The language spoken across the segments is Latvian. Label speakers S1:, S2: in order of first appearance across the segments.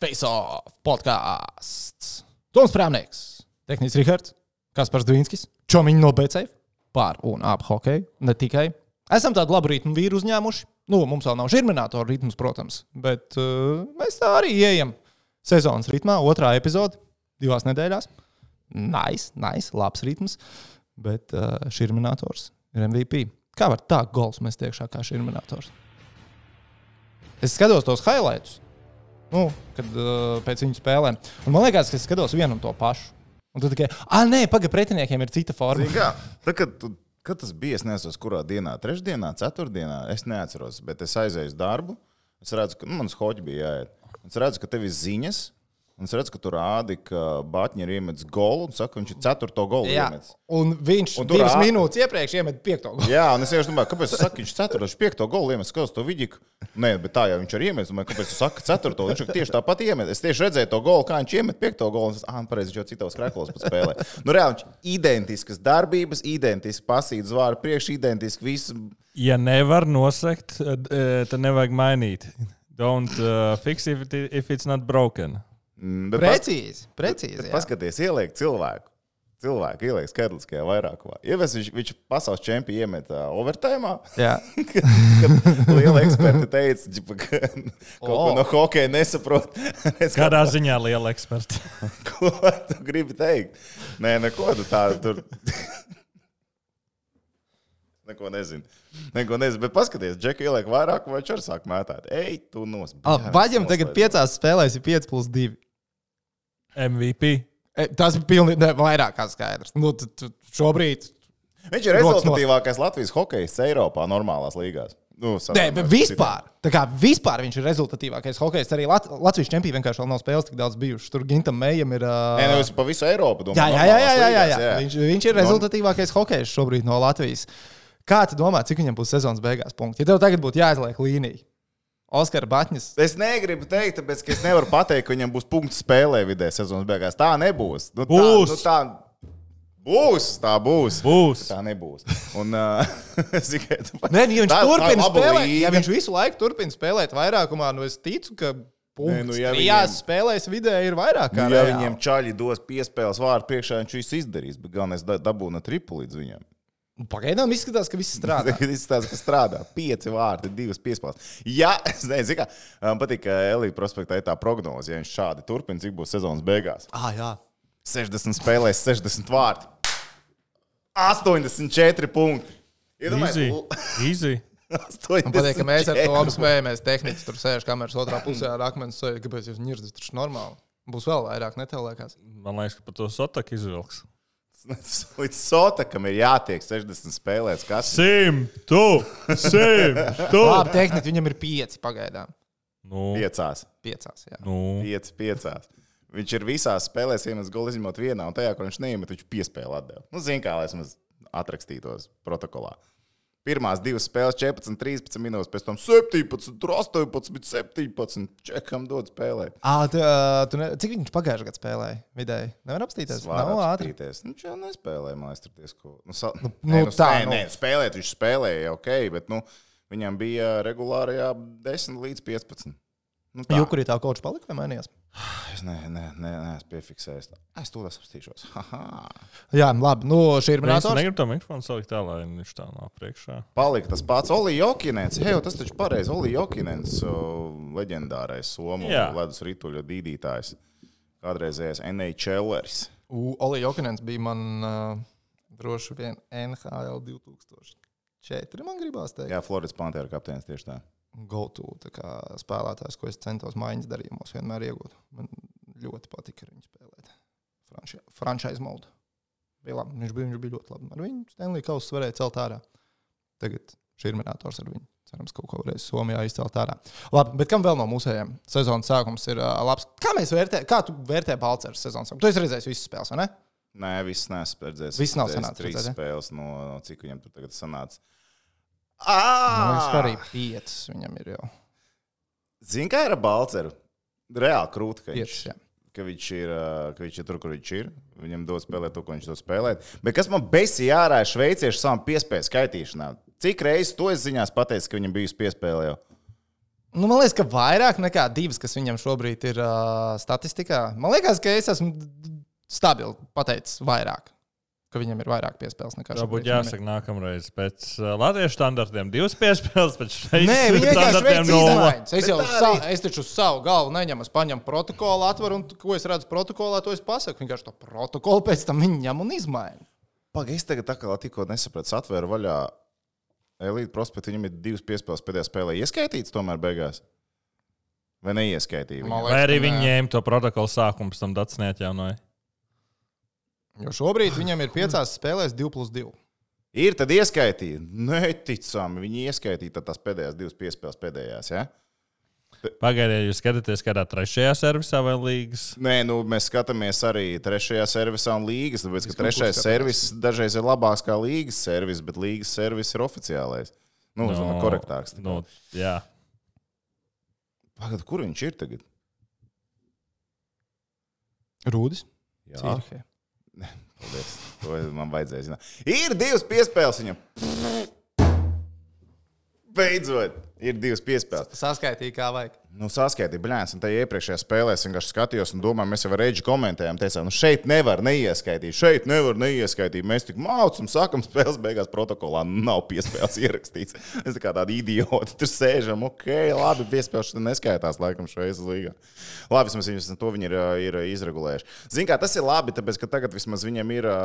S1: Face Off podkāsts. Toms Prāmnieks, Tehnisks Rihards, Kaspars Dvīnskis, Čomiņš no BCF par un ap hokeju. Ne tikai. Esam tādu labu rītmu vīru uzņēmuši. Nu, mums vēl nav žirminātora ritms, protams, bet uh, mēs tā arī ejam. Sezonas ritmā, otrā epizode, divās nedēļās. Nice, nice, labs ritms. Bet uh, šurminātors ir MVP. Kā var tā gols mest iekšā kā šurminātors? Es skatos tos highlights, nu, kad uh, pēc viņu spēlēm. Un man liekas, ka es skatos vienu un to pašu. Un tad tikai, ah, nē, pagaidi, pretiniekiem ir cita forma.
S2: Zini Kā, tā, kad, tu- kad tas bija, es nezinu, kurā dienā, trešdienā, ceturtdienā, es neatceros, bet es aizēju uz darbu. Es redzu, ka nu, manas hoģi bija jāiet. Es redzu, ka tev ir ziņas. Un es redzu, ka tur rādi, ka Bāķiņš ir iemetis golu un saka, ka viņš ir ceturto golu
S1: Jā,
S2: iemetis.
S1: un viņš
S2: Un
S1: un
S2: tur
S1: divas
S2: ā-
S1: minūtes iepriekš iemet piekto golu.
S2: Jā, un es vienkārši domāju, kāpēc viņš saka, ka viņš ir ceturto, viņš piekto golu iemetis, skatos to vidiku. Nē, bet tā jau viņš ir iemetis. Domāju, kāpēc viņš saka ceturto? Viņš saka, tieši tāpat iemet. Es tieši redzēju to golu, kā viņš iemet piekto golu. un Es, ah, pareizi, viņš jau citos krēklos pat spēlē. Nu, reāli viņš identiskas darbības, identisks pasīdz vārdu priekš, identisks viss.
S3: Ja nevar nosegt, eh, d- eh, tad nevajag mainīt. Don't uh, fix if, it, if it's not broken.
S2: Mm, bet pas-
S1: Precīzi, precīzi. jā.
S2: Paskaties, ieliek cilvēku. Cilvēku ieliek skaitliskajā vairākumā. Ievēs viņš, viņš pasaules čempionu iemeta overtime.
S1: Jā.
S2: Liela eksperta teica, džipa, ka kaut ko
S1: O.
S2: no hokeja nesaprot. Es kā,
S3: Kādā ziņā liela eksperta?
S2: ko tu gribi teikt? Nē, neko tu tādu tur. Neko nezinu. Neko nezinu. Bet paskaties, Džeki ieliek vairāk, vai čur sāk mētāt. Ej, tu nos.
S1: Ah, Baģim tagad piecās spēlēs ir 5 plus 2.
S3: MVP.
S1: E, Tas bija pilnīgi ne, vairāk kā skaidrs. Nu, tu, tu, šobrīd.
S2: Viņš
S1: Rokas
S2: ir
S1: nost.
S2: rezultatīvākais Latvijas hokejs Eiropā, normālās līgās. Nu,
S1: Nē,
S2: salīdzinot
S1: bet
S2: ar citiem.
S1: vispār. Tā kā vispār viņš ir rezultatīvākais hokejs. Arī Lat Latvijas čempionā vienkārši vēl nav spēles tik daudz bijušas. Tur Gintam Mējam ir. Uh...
S2: Nē, nu, es pa visu Eiropu domāju.
S1: Jā, jā, jā, jā, jā, jā, jā. Viņš, viņš ir
S2: Nu,
S1: rezultatīvākais hokejs šobrīd no Latvijas. Kā tu domā, cik viņam būs sezonas beigās punkti? Ja tev tagad būtu jāizliek līnija, Oskar Batņis.
S2: Es negribu teikt, tāpēc, ka es nevaru pateikt, ka viņam būs punkts spēlē vidē sezonas beigās. Tā nebūs. Nu,
S3: Būs.
S2: Tā, nu, tā būs. Tā būs.
S3: Būs.
S2: Tā nebūs. Un, uh, es tikai tu pa-
S1: Nē, nu, ja viņš
S2: Tā- tā
S1: turpina
S2: laba
S1: spēlēt,
S2: līga.
S1: ja viņš visu laiku turpina spēlēt vairākumā, nu es ticu, ka punkts Nē,
S2: nu,
S1: nu,
S2: ja
S1: jā,
S2: viņiem-
S1: trijās spēlēs vidēji ir vairāk kā
S2: Nu, ja
S1: reāli.
S2: viņam čaļi dos piespēles vārdu priekšā, viņš visu izdarīs, bet gan es da- dabūju no tripu līdz viņam.
S1: Pagaidām izskatās, ka viss strādā.
S2: Tagad izstāsta, ka strādā. Pieci vārti, divas piespēles. Jā, es nezinu, kā. Man patīk, ka Elīja prospektā ir tā prognoze, ja viņš šādi turpina, cik būs sezonas beigās.
S1: Ah, jā.
S2: 60 spēlēs, 60 vārti. 84 punkti.
S3: Easy.
S2: Iedomājieties,
S3: Easy.
S1: Man patīk, ka mēs ar to apspējamies. Tehnicis tur sēž kameras otrā pusē ar akmens soju. Kāpēc jūs nirdzat? Tas ir normāli. Būs vēl vairāk, ne tev liekas.
S3: Man liekas, ka par to sotaku izvilks.
S2: Līdz sotakam ir jātiek 60 spēlēs. Kas?
S3: Simtu! Simtu!
S1: Labi, tehnicis viņam ir pieci pagaidām.
S3: Nu,
S2: Piecās.
S1: Piecās, jā.
S3: nu.
S2: Pieci, piecās. Viņš ir visās spēlēs iemetis goli, izņemot vienā, un tajā, kur viņš neiemet, viņš piespēlē atdeva. Nu, zin kā, lai es atrakstītos protokolā. Pirmās divas spēles 14, 13 minūtes, pēc tam 17, tur 18, 17. Čekam dod spēlēt.
S1: À, tu, ā, tu ne... Cik viņš pagājušajā gadā spēlēja? Vidēji. Nevar apstīties. Nav
S2: Svarīgi
S1: ātri.
S2: apskatīties. Nu, Viņš jau nespēlēja mākslinieks. Nu, sa... nu,
S1: nu,
S2: nu,
S1: tā,
S2: tā nē,
S1: nu.
S2: nē, spēlēt viņš spēlēja, ok, bet nu, viņam bija regulārajā 10 līdz 15. Nu, tā.
S1: Jukurī tā kaut kas palika vai mainījās?
S2: Es neesmu piefiksējis. Es to apskatīšos. Haha.
S1: Jā, labi. Nu, šī ir
S3: Es
S1: monēta.
S3: negribu tam mikrofonu salikt tā, lai viņš tā nav priekšā.
S2: Palika tas pats Olimpāns. Jā, tas taču pareizi. Olimpāns, leģendārais somu
S3: Jā.
S2: ledus rituļu dīdītājs. Kādreizējais NHLers.
S1: Oli Jokinens bija man uh, droši vien NHL 2004. Man gribās teikt.
S2: Jā, Floridas Pantēra kapteinis tieši tā.
S1: go-to tā kā spēlētājs, ko es centos maiņas darījumos vienmēr iegūt. Man ļoti patika ar viņu spēlēt. Franši- Franchise mode. Bija labi, viņš, bija, viņš bija ļoti labi. Ar viņu Stanley Kausu varēja celt ārā. Tagad šī ir minētors ar viņu. Cerams, kaut ko varēs Somijā izcelt ārā. Labi, bet kam vēl no mūsējiem? Sezonas sākums ir uh, labs. Kā mēs vērtējam, kā tu vērtē Balceru sezonas sākumu? Tu esi redzējis visas spēles, vai ne?
S2: Nē, viss nesmu redzējis.
S1: Viss nav
S2: Es
S1: sanācis
S2: Trīs
S1: redzēt, ja?
S2: spēles, no, no cik viņam tur tagad sanāca.
S1: Man liekas, ka
S2: Ah!
S1: Nu, arī piecas viņam ir jau.
S2: Zini, kā ir ar Balceru? Reāli krūti, ka viņš,
S1: Piecas, jā.
S2: ka, viņš ir, uh, ka viņš ir tur, kur viņš ir. Viņam dod spēlēt to, ko viņš dod spēlēt. Bet kas man besīja ārā ir šveiciešu savam piespēju skaitīšanā? Cik reizes to es ziņās pateicu, ka viņam bijusi piespēle jau?
S1: Nu, man liekas, ka vairāk nekā divas, kas viņam šobrīd ir uh, statistikā. Man liekas, ka es esmu stabils pateicis vairāk, ka viņam ir vairāk piespēles nekā
S3: Tā būtu
S1: viņam ir.
S3: jāsaka nākamreiz. Pēc uh, latviešu standartiem divas piespēles, pēc
S1: Nē,
S3: šeit
S1: viņi vienkārši veic
S3: nulle.
S1: izmaiņas. Es jau savu, es taču uz savu galvu neņemu, es paņemu protokolu, atveru, un ko es redzu protokolā, to es pasaku. Vienkārši to protokolu pēc tam viņi ņem un izmaina.
S2: Pagaidzi, es tagad tā kā tikko nesapratu, atvēru vaļā Elīte Prospektu. Viņam ir divas piespēles pēdējā spēlē. Ieskaitīts tomēr beigās. Vai neieskaitīja?
S1: Man
S2: viņu?
S1: liekas,
S3: Vai arī
S1: ka
S3: viņi
S1: nē.
S3: ņēma to protokolu sākumu, pēc tam nu, dats neatjaunoja.
S1: Jo šobrīd viņam ir piecās spēlēs 2 plus 2.
S2: Ir tad ieskaitīja. Neticami. Viņi ieskaitīja tad tās pēdējās divas piespēles pēdējās. Ja?
S3: Pagaidiet, jūs skatāties kādā trešajā servisā vai līgas.
S2: Nē, nu, mēs skatāmies arī trešajā servisā un līgas. Tāpēc, ka
S1: kaut ko
S2: trešais
S1: skatāmies.
S2: servis dažreiz ir labāks kā līgas servis, bet līgas servis ir oficiālais. Nu, no, domāju, korektāks.
S3: Nu, jā.
S2: Pagad, kur viņš ir tagad?
S1: Rūdis?
S2: Jā, paldies. To man vajadzēja zināt. Ir divas piespēles viņam. Beidzot, ir divas piespēles.
S1: Saskaitīja, kā vajag.
S2: Nu, saskaiti, blēņas, un te iepriekšējā spēlē es vienkārši skatījos, un domāju, mēs jau ar Reģu komentējām, teicām, nu šeit nevar neieskaitīt, šeit nevar neieskaitīt. Mēs tik mācām, sākam spēles beigās protokolā, nav piespēles ierakstīts. Es tā kā tādi idioti tur sēžam, ok, labi, piespēles šodien neskaitās, laikam, šajā līgā. Labi, vismaz viņi to viņi ir, ā, ir izregulējuši. Ziniet, kā tas ir labi, tāpēc, ka tagad vismaz viņam ir ā,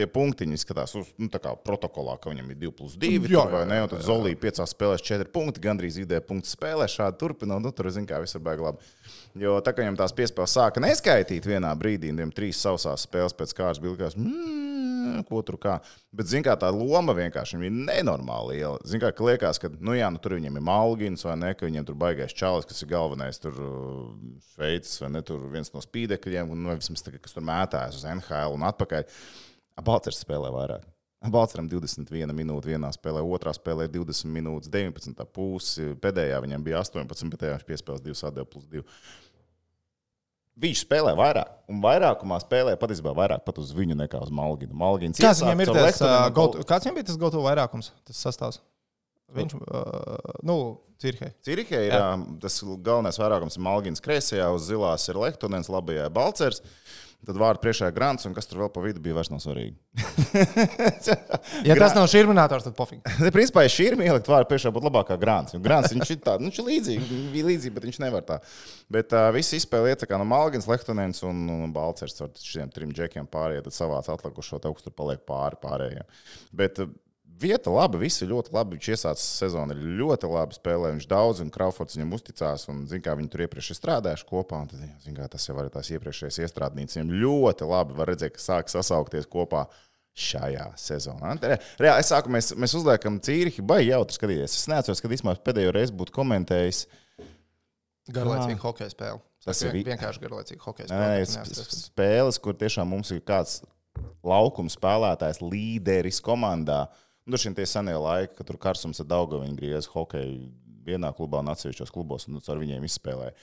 S2: tie punktiņi, skatās, uz, nu, tā kā protokolā, ka viņam ir 2 plus 2,
S1: Jā,
S2: jā, vai
S1: jā,
S2: ne? Un tad Zolīja piecās spēlēs četri punkti, gandrīz vidē punktu spēlē. Šādi turpinot, nu tur zina, kā visur beigas labi. Jo tā kā viņam tās piespēles sāka neskaitīt vienā brīdī, un viņam trīs sausās spēles pēc kārtas bija likās, mmm, ko tur kā. Bet, zina, kā tā loma vienkārši viņam ir nenormāli liela. Zina, kā ka liekas, ka, nu jā, nu tur viņam ir Malgins vai ne, ka viņam tur baigais čalis, kas ir galvenais tur uh, Šveicis vai ne, tur viens no spīdekļiem, un nu, vismaz tagad, kas tur mētājas uz NHL un atpakaļ. Balcers spēlē vairāk. Balceram 21 minūte vienā spēlē, otrā spēlē 20 minūtes, 19 pusi. Pēdējā viņam bija 18, bet tajā viņš piespēlēja 2, atdeva plus 2. Viņš spēlē vairāk, un vairākumā spēlē patiesībā vairāk pat uz viņu nekā uz Malginu. Malgins
S1: Kāds viņam, ir
S2: iesāca ar
S1: tas, uh,
S2: Lehtonen un
S1: gotu, kāds viņam bija tas gotu vairākums? Tas sastāvs. Viņš, uh, nu, cirhei.
S2: Cirihē ir jā. tas galvenais vairākums. ir Malgins kreisajā, uz zilās ir Lehtonens, labajā ir Balcers. Tad vārdu priekšā ir Grants, un kas tur vēl pa vidu bija vairs nav svarīgi.
S1: Ja tas nav šurminātors, tad pofīgi.
S2: Ne, principā, ja šī ir ielikt vārdu priekšā, būtu labākā grāns. Jo grāns viņš ir tāds, nu, viņš ir līdzīgs, bija līdzīgs, bet viņš nevar tā. Bet uh, visi izspēlē iet tā kā no Malgins, Lehtonens un, un Balcers ar šiem trim džekiem pārējie, tad savāc atlikušo te augstu paliek pāri pārējiem. Bet, uh, Vieta laba, visi ļoti labi. Viņš iesācis sezonu, ir ļoti labi spēlējis. Viņš daudz, un Kraufords viņam uzticās. Un, zin, kā, viņi tur iepriekš ir strādājuši kopā. un Tad, zin, kā, tas jau ir tās iepriekšējās iestrādnīcas. Viņam ļoti labi var redzēt, ka sāk sasaukties kopā šajā sezonā. Re- Reāli, es sāku, mēs, mēs uzliekam cīriņu, baigi jautri skatīties. Es neatceros, kad īstenībā pēdējo reizi būtu komentējis.
S1: Garlaicīgi hokeja spēle.
S2: Tas
S1: Tas
S2: ir
S1: ir
S2: vi-
S1: vienkārši garlaicīgi hokeja
S2: Nē, nē,
S1: spēle.
S2: sp- sp- Spēles, kur tiešām mums ir kāds laukuma spēlētājs, līderis komandā. Nu, šiem tie senie laiki, kad tur karsums ar Daugaviņu griezās hokeju vienā klubā un atsevišķos klubos, un nu, ar viņiem izspēlēja.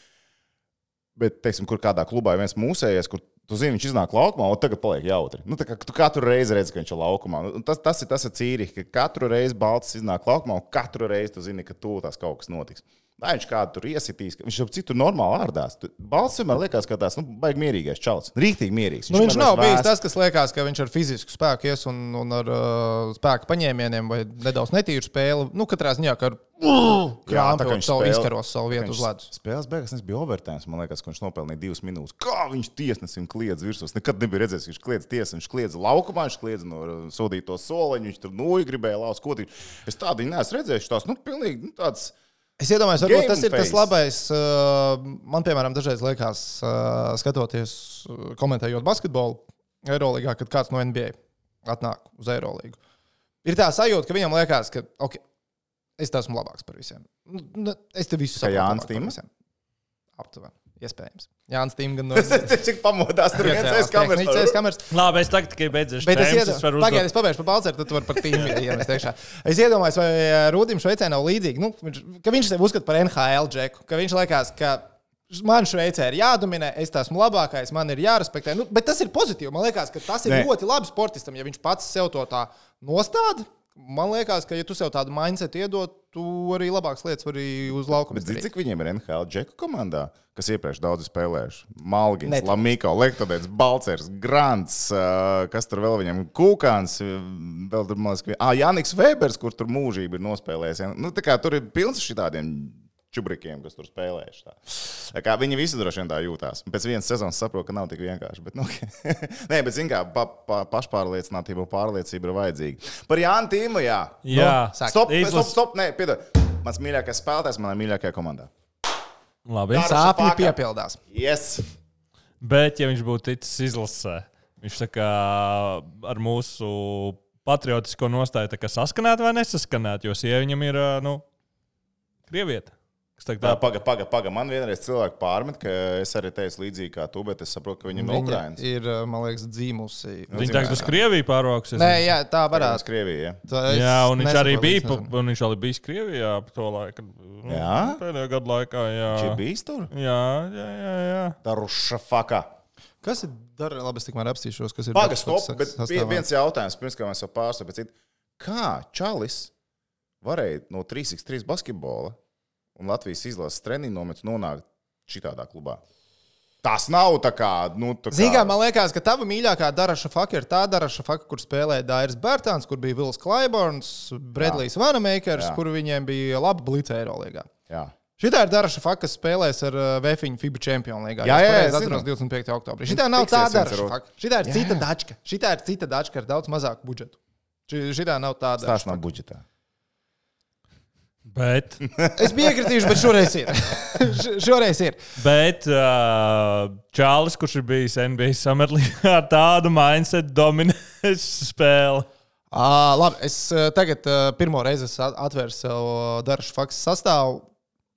S2: Bet, teiksim, kur kādā klubā ir viens mūsējais, kur tu zini, viņš iznāk laukumā, un tagad paliek jautri. Nu, tā kā tu katru reizi redz, ka viņš ir laukumā. Un Tas, tas ir tas īriņš, ka katru reizi balts iznāk laukumā, un katru reizi tu zini, ka tūlītās kaut kas notiks. Vai viņš kādu tur iesitīs, ka viņš jau citu normāli ārdās. Tu- Balts vienmēr liekas, ka tāds nu, baigs mierīgais čalis. Rīktīgi mierīgs.
S1: Nu, viņš
S2: vienmēr
S1: nav
S2: vairs
S1: bijis
S2: vēsts.
S1: tas, kas liekas, ka viņš ar fizisku spēku ies un, un ar uh, spēku paņēmieniem vai nedaudz netīru spēli. Nu, katrā ziņā, ka ar
S2: Jā, tā kā
S1: krāpju
S2: viņš
S1: savu
S2: spēlē-
S1: izkaros savu vietu
S2: viņš
S1: uz ledus.
S2: Spēles beigās nebija overtēns. Man liekas, ka viņš nopelnīja divas minūtes. Kā viņš tiesnesim kliedz virsū? Es Nekad nebija redzējis, ka viņš kliedz tiesā. Viņš kliedz laukumā, viņš kliedz no uh, sodīto soliņa, viņš tur noja gribēja laust kotīt. Es tādu viņu neesmu redzējis. Tās, nu, pilnīgi, nu, tāds,
S1: Es iedomājos, varbūt
S2: Game
S1: tas ir tas
S2: face.
S1: labais. uh, Man, piemēram, dažreiz liekas, uh, skatoties, uh, komentējot basketbolu, Eirolandā, kad kāds no NBA atnāk uz Eirolandu. Ir tā sajūta, ka viņam liekas, ka okay, es te esmu labāks par visiem. Nu, nu, Es te visu
S2: Kā
S1: saprotu.
S2: Jānis
S1: labāk par
S2: Tīma?
S1: visiem. Aptuveni. Iespējams. Jā, Ants Tīm gan no
S2: cik pamodās tur viens aiz kameras.
S1: aiz kameras.
S3: Labi, es tagad tikai beidzēšu.
S1: Bet es,
S3: tēmas,
S1: iedo... es,
S3: varu
S1: Pagaid,
S3: uzdot-
S1: es pabeigšu par Balčūsku, tad tu vari par tīm ienest iekšā. Es iedomājos, vai ā, Rūdim Šveicē nav līdzīgi, nu, viņš- ka viņš sev uzskata par NHL džeku, ka viņš liekas, ka man Šveicē ir jādominē, es esmu labākais, man ir jārespektē. Nu, bet tas ir pozitīvi. Man liekas, ka tas ir
S2: Nē.
S1: Nē. ļoti labi sportistam, ja viņš pats sev to tā nostāda. Man liekas, ka, ja tu sev tādu mindset iedod, tu arī labākas lietas vari uz laukuma
S2: Bet zini, cik viņiem ir NHL džeku komandā, kas iepriekš daudz spēlējuši? Malgins,
S1: Netic.
S2: Lamiko, Lektodēns, Balcers, Grants, ā, kas tur vēl viņam, Kukāns, ā, vēl tur, man liekas, ka- ā, Jānis Vēbers, kur tur mūžība ir nospēlējis. ja. Nu, tā kā tur ir pilns ar šitādiem čubrikiem, kas tur spēlējuši. Tā. Tā kā viņi visi droši vien tā jūtās. Pēc vienas sezonas saprotu, ka nav tik vienkārši. Bet, nu, okay. Nē, bet, zināmā mērā, pa, pa, pašpārliecinātība un pārliecība ir vajadzīga. Par Jānu Tīmu, jā.
S1: nu,
S3: Jā,
S1: sāk.
S2: Stop,
S3: Izlas-
S2: stop, stop, nē, piedod. Mans mīļākais spēlētājs manā mīļākajā komandā.
S3: Labi.
S2: Dar-
S1: Sāpju
S2: Fakā.
S1: piepildās.
S2: Yes.
S3: Bet, ja viņš būtu ticis izlasē, viņš tā kā ar mūsu patriotisko nostāju tā kā saskanētu vai nesaskanētu, jo sieva viņam ir, ā, nu, krievieta. Kas tā
S2: Tā,
S3: kā
S2: paga, paga, paga. Man vienreiz cilvēki pārmet, ka es arī teicu līdzīgi kā tu, bet es saprotu, ka viņam ir
S1: Viņa
S2: Ukrāņas.
S1: ir, eh, man liekas, dzīmusi.
S2: Nu,
S3: Viņa tagad uz Krieviju pārvāksies.
S1: Nē, jā, tā
S2: Parāds
S1: varētu.
S2: Krievijā. ja?
S1: Tā es
S3: Jā, un viņš arī
S1: nesaprotu,
S3: bija,
S1: es
S3: pa-
S1: nezinu.
S3: un viņš arī bija Krievijā ap to laiku. Nu,
S2: Jā?
S3: Pēdējā gada laikā, jā.
S2: Viņš ir bijis tur?
S3: Jā, jā, jā. jā.
S2: Daruša fakā.
S1: Kas ir dar... labi, es tikmēr apstīšos, kas ir
S2: Paga,
S1: Darksaks
S2: stop, bet
S1: sastāvā.
S2: vie- viens jautājums, pirms kā mēs jau pārstāvjam. Kā Čalis varēja no 3x3 basketbola un Latvijas izlases treniņu nometnes nonākt šitādā klubā? Tas nav tā kā, nu, tā kā.
S1: Zinām, man liekas, ka tava mīļākā daraša faka ir tā daraša faka, kur spēlēja Dairis Bērtāns, kur bija Vils Klaiborns, Bredlijs Vanamakers,
S2: Jā.
S1: kur viņiem bija laba blīca Eirolandā.
S2: Jā.
S1: Šitā ir daraša faka, kas spēlēs ar Vēfiņu FIBA čempionu līgā.
S2: Jā, jā, jā,
S1: es atceros
S2: zinu.
S1: 25. oktobrī. Šitā nav tā
S2: Tiksies viens ar
S1: daraša
S2: otru.
S1: faka. Šitā ir cita dačka. Šitā ir cita dačka ar daudz mazāku budžetu. Ši- Šitā nav tā daraša.
S2: Tās nav budžetā.
S3: Bet,
S1: Es biju iekritījuši, bet šoreiz ir. Š- šoreiz ir.
S3: bet uh, Čālis, kurš ir bijis NBA sametlīgā, ar tādu mindset dominēs spēli.
S1: À, labi, es ā, tagad ā, pirmo reizi es at- atvēru sev dārza faktu sastāvu.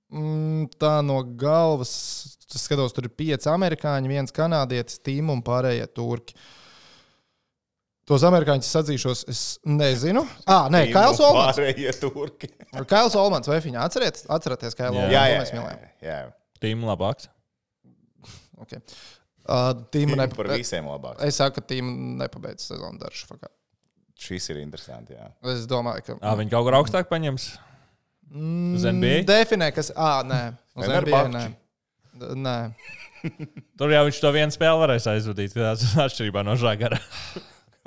S1: Mm, Tā no galvas es skatos, tur ir pieci amerikāņi, viens kanādietis, tīm un pārējie turki. Tos amerikāņus sadzīšos, es nezinu. Ah, nē, Kails Olmans.
S2: Pārējie turki.
S1: Kails Olmans vai viņa atcerieties? Atcerieties, kā Kails
S3: Jā.
S1: Olmans.
S2: Jā,
S1: ko
S2: jā,
S1: mēs
S2: jā,
S1: mīlējam.
S2: jā.
S3: Tīm labāks.
S1: Okay. Uh, tīm
S2: Viņam par
S1: nepabeidz.
S2: visiem labāk.
S1: Es saku, ka tīm nepabeidz sezonu dārza faktu.
S2: Šis ir interesants. Jā.
S1: Es domāju, ka.
S3: Ā, Viņi kaut kur augstāk paņems.
S1: Mm,
S3: Uz NBA?
S1: Definē, kas. Ah, nē, uz NBA.
S2: Fenerbahče.
S1: Nē. D- nē.
S3: Tur jau viņš to vienu spēli varēs aizvadīt. Tas ir atšķirībā no žagara.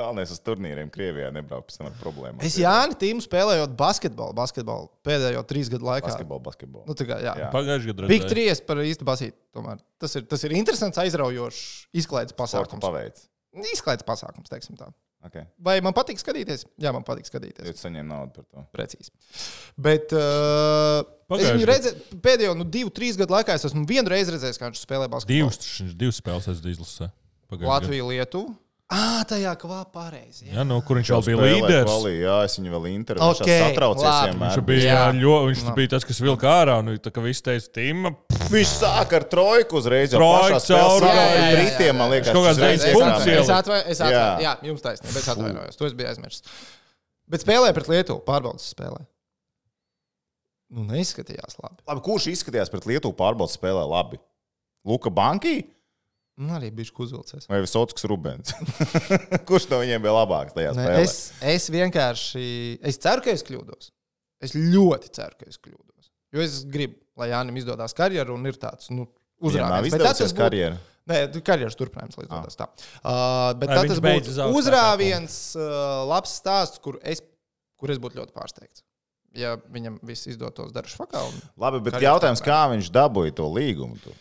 S2: Galvenais uz turnīriem Krievijā nebrauc pēc tam ar problēmām.
S1: Es Jānis Tīmu spēlējot basketbolu, basketbolu pēdējo trīs gadu laikā.
S2: Basketbolu, basketbolu.
S1: Nu, tā kā, jā.
S2: Jā. eh,
S1: jā.
S3: Pagājušajā gadā
S1: Big 3 par īstu basītu. Tomēr. Tas ir, tas ir interesants, aizraujošs izklaides
S2: Sporta
S1: pasākums.
S2: paveic.
S1: Izklaides pasākums, teiksim tā.
S2: Okay.
S1: Vai man patīk skatīties? Jā, man patīk skatīties.
S2: Jūs saņemat naudu par to.
S1: Precīzi. Bet uh, es
S3: Pagājuši
S1: viņu
S3: gadu.
S1: redzēju pēdējo nu, divu, trīs gadu laikā. Es esmu vienu reizi redzējis, kā viņš spēlē basketbolu.
S3: Divas, viņš divas spēles aizvadīja izlasē. Pagājušajā gadā.
S1: Latviju, Lietuvu. Ah, tajā kvā pareizi.
S3: Jā, no kur viņš jau bija līderis.
S2: Kvali, jā, es viņu vēl intervēju. Okay,
S1: Okay,
S2: satraucies
S1: labi.
S2: vienmēr.
S3: Viņš bija,
S1: Jā. Nu.
S3: ļo, viņš bija tas, kas vilka ārā. Nu, tā kā viss teica, Tīma,
S2: Viņš sāk ar trojku uzreiz. Jau
S3: Trojku,
S2: pašā spēlē
S3: cauri,
S2: sāk
S1: jā, jā,
S2: ar
S1: jā, jā.
S2: rītiem, man liekas.
S3: Viņš kaut kāds
S2: uzreiz
S3: deviņas
S2: iekrāpē.
S3: punktus
S1: Es
S3: ielikt.
S1: atvainoju, es atvainoju.
S2: Jā.
S1: Jā, jums taisnība. Es atvainojos. To es biju aizmirsis. Bet spēlēja pret Lietuvu, pārbaudas spēlē. Nu, neizskatījās labi.
S2: Labi, kurš izskatījās pret Lietuvu pārbaudas spēlē labi? Luka Banki
S1: Man arī bija uzvilcies.
S2: vai Visotskas Rubens? kurš no viņiem bija labāks tajā
S1: Ne,
S2: spēlē?
S1: es, es vienkārši. Es ceru, ka es kļūdos. Es ļoti ceru, ka es kļūdos. Jo es gribu, lai Jānis izdodas karjeru un ir tāds nu,
S2: Viņam nav
S1: uzrādījums.
S2: izdevusies karjeru.
S1: Nē, karjeras turpinājums līdz tam tā. Uh, bet
S3: Ah. Vai
S1: tā
S3: viņš
S1: tas
S3: beidz uz
S1: būtu
S3: augstākā
S1: uzrāviens, uh, labs stāsts, kur es, kur es būtu ļoti pārsteigts. Ja viņam viss izdotos darbu fakā. Un...
S2: Labi, bet
S1: Karjeras
S2: jautājums, kā viņš dabūja to līgumu? Tu?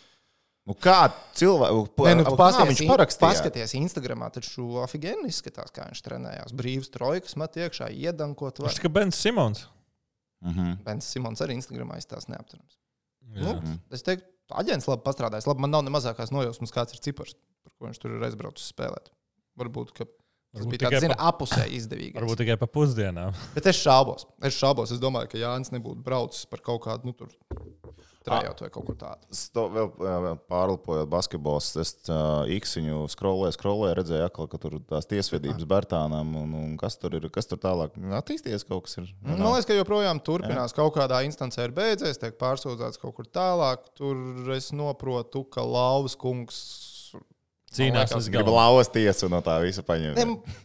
S2: Nu, kā cilvēku
S1: Nē, nu, tu
S3: Ah,
S2: kā
S1: paskaties,
S2: viņš
S1: in-
S2: parakstīja?
S1: Paskaties, Instagramā taču afigēni izskatās, kā viņš trenējās. Brīvs trojkas met iekšā, iedankot.
S3: viņš kā Bens Simons.
S2: Mhm.
S1: Bens Simons arī Instagramā izstāsta neapturams.
S3: Jā.
S1: Nu, es teiktu, aģents labi pastrādājis. Labi, man nav ne mazākās nojausmas, kāds ir cipars, par ko viņš tur ir aizbraucis spēlēt. Varbūt, ka tas
S3: Varbūt
S1: bija
S3: tikai
S1: tāds, zina,
S3: pa-
S1: apusē izdevīgs.
S3: Varbūt tikai pa pusdienām.
S1: Bet es šaubos. Es šaubos. Es domāju, ka Jānis nebūtu braucis par kaut kādu nu, tur trajektu vai kaut ko tādu.
S2: Sto, vēl, vēl pārlpojot basketbolu, es uh, īksiņu skrolēju, skrolēju, redzēju, akla, ka tur tās tiesvedības Bērtānam un, un kas tur ir, kas tur tālāk attīstījies kaut kas. Ir, vai
S1: Man
S2: nav?
S1: liekas, ka joprojām turpinās. Kaut kādā instancē ir beidzies, tiek pārsūdzēts kaut kur tālāk. Tur es saprotu, ka Lauvas kungs.
S3: Cīnās uz
S2: Gribu
S3: galvu.
S2: lauzties un no tā visa paņemt.
S1: Ne,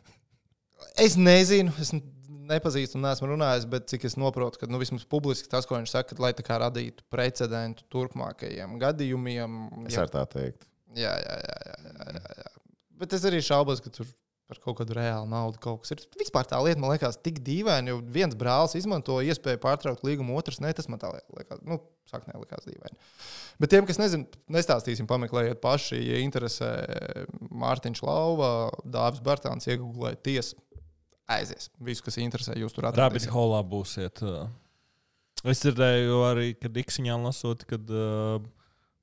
S1: es nezinu, es n- nepazīstu un neesmu runājis, bet cik es saprotu, ka nu, vismaz publiski tas, ko viņš saka, lai tā kā radītu precedentu turpmākajiem gadījumiem.
S2: Es
S1: Ja,
S2: varu tā teikt.
S1: jā, jā, jā, jā, jā, jā, jā. Bet es arī šaubos, ka tur par kaut kādu reālu naudu kaut kas ir. Vispār tā lieta man liekas tik dīvaina, jo viens brālis izmanto iespēju pārtraukt līgumu, otrs ne. Tas man tā liekas, nu, sākumā likās dīvaini. Bet tiem, kas nezina, nestāstīsim, pameklējiet paši, ja interesē Mārtiņš Lauva, Dāvis Bartāns, iegūlējiet tiesu. Aizies. Visu, kas interesē, jūs tur
S3: Rabbit
S1: atradīsiet.
S3: holā būsiet. ā. Es dzirdēju arī, ka Diksiņā lasot, kad uh,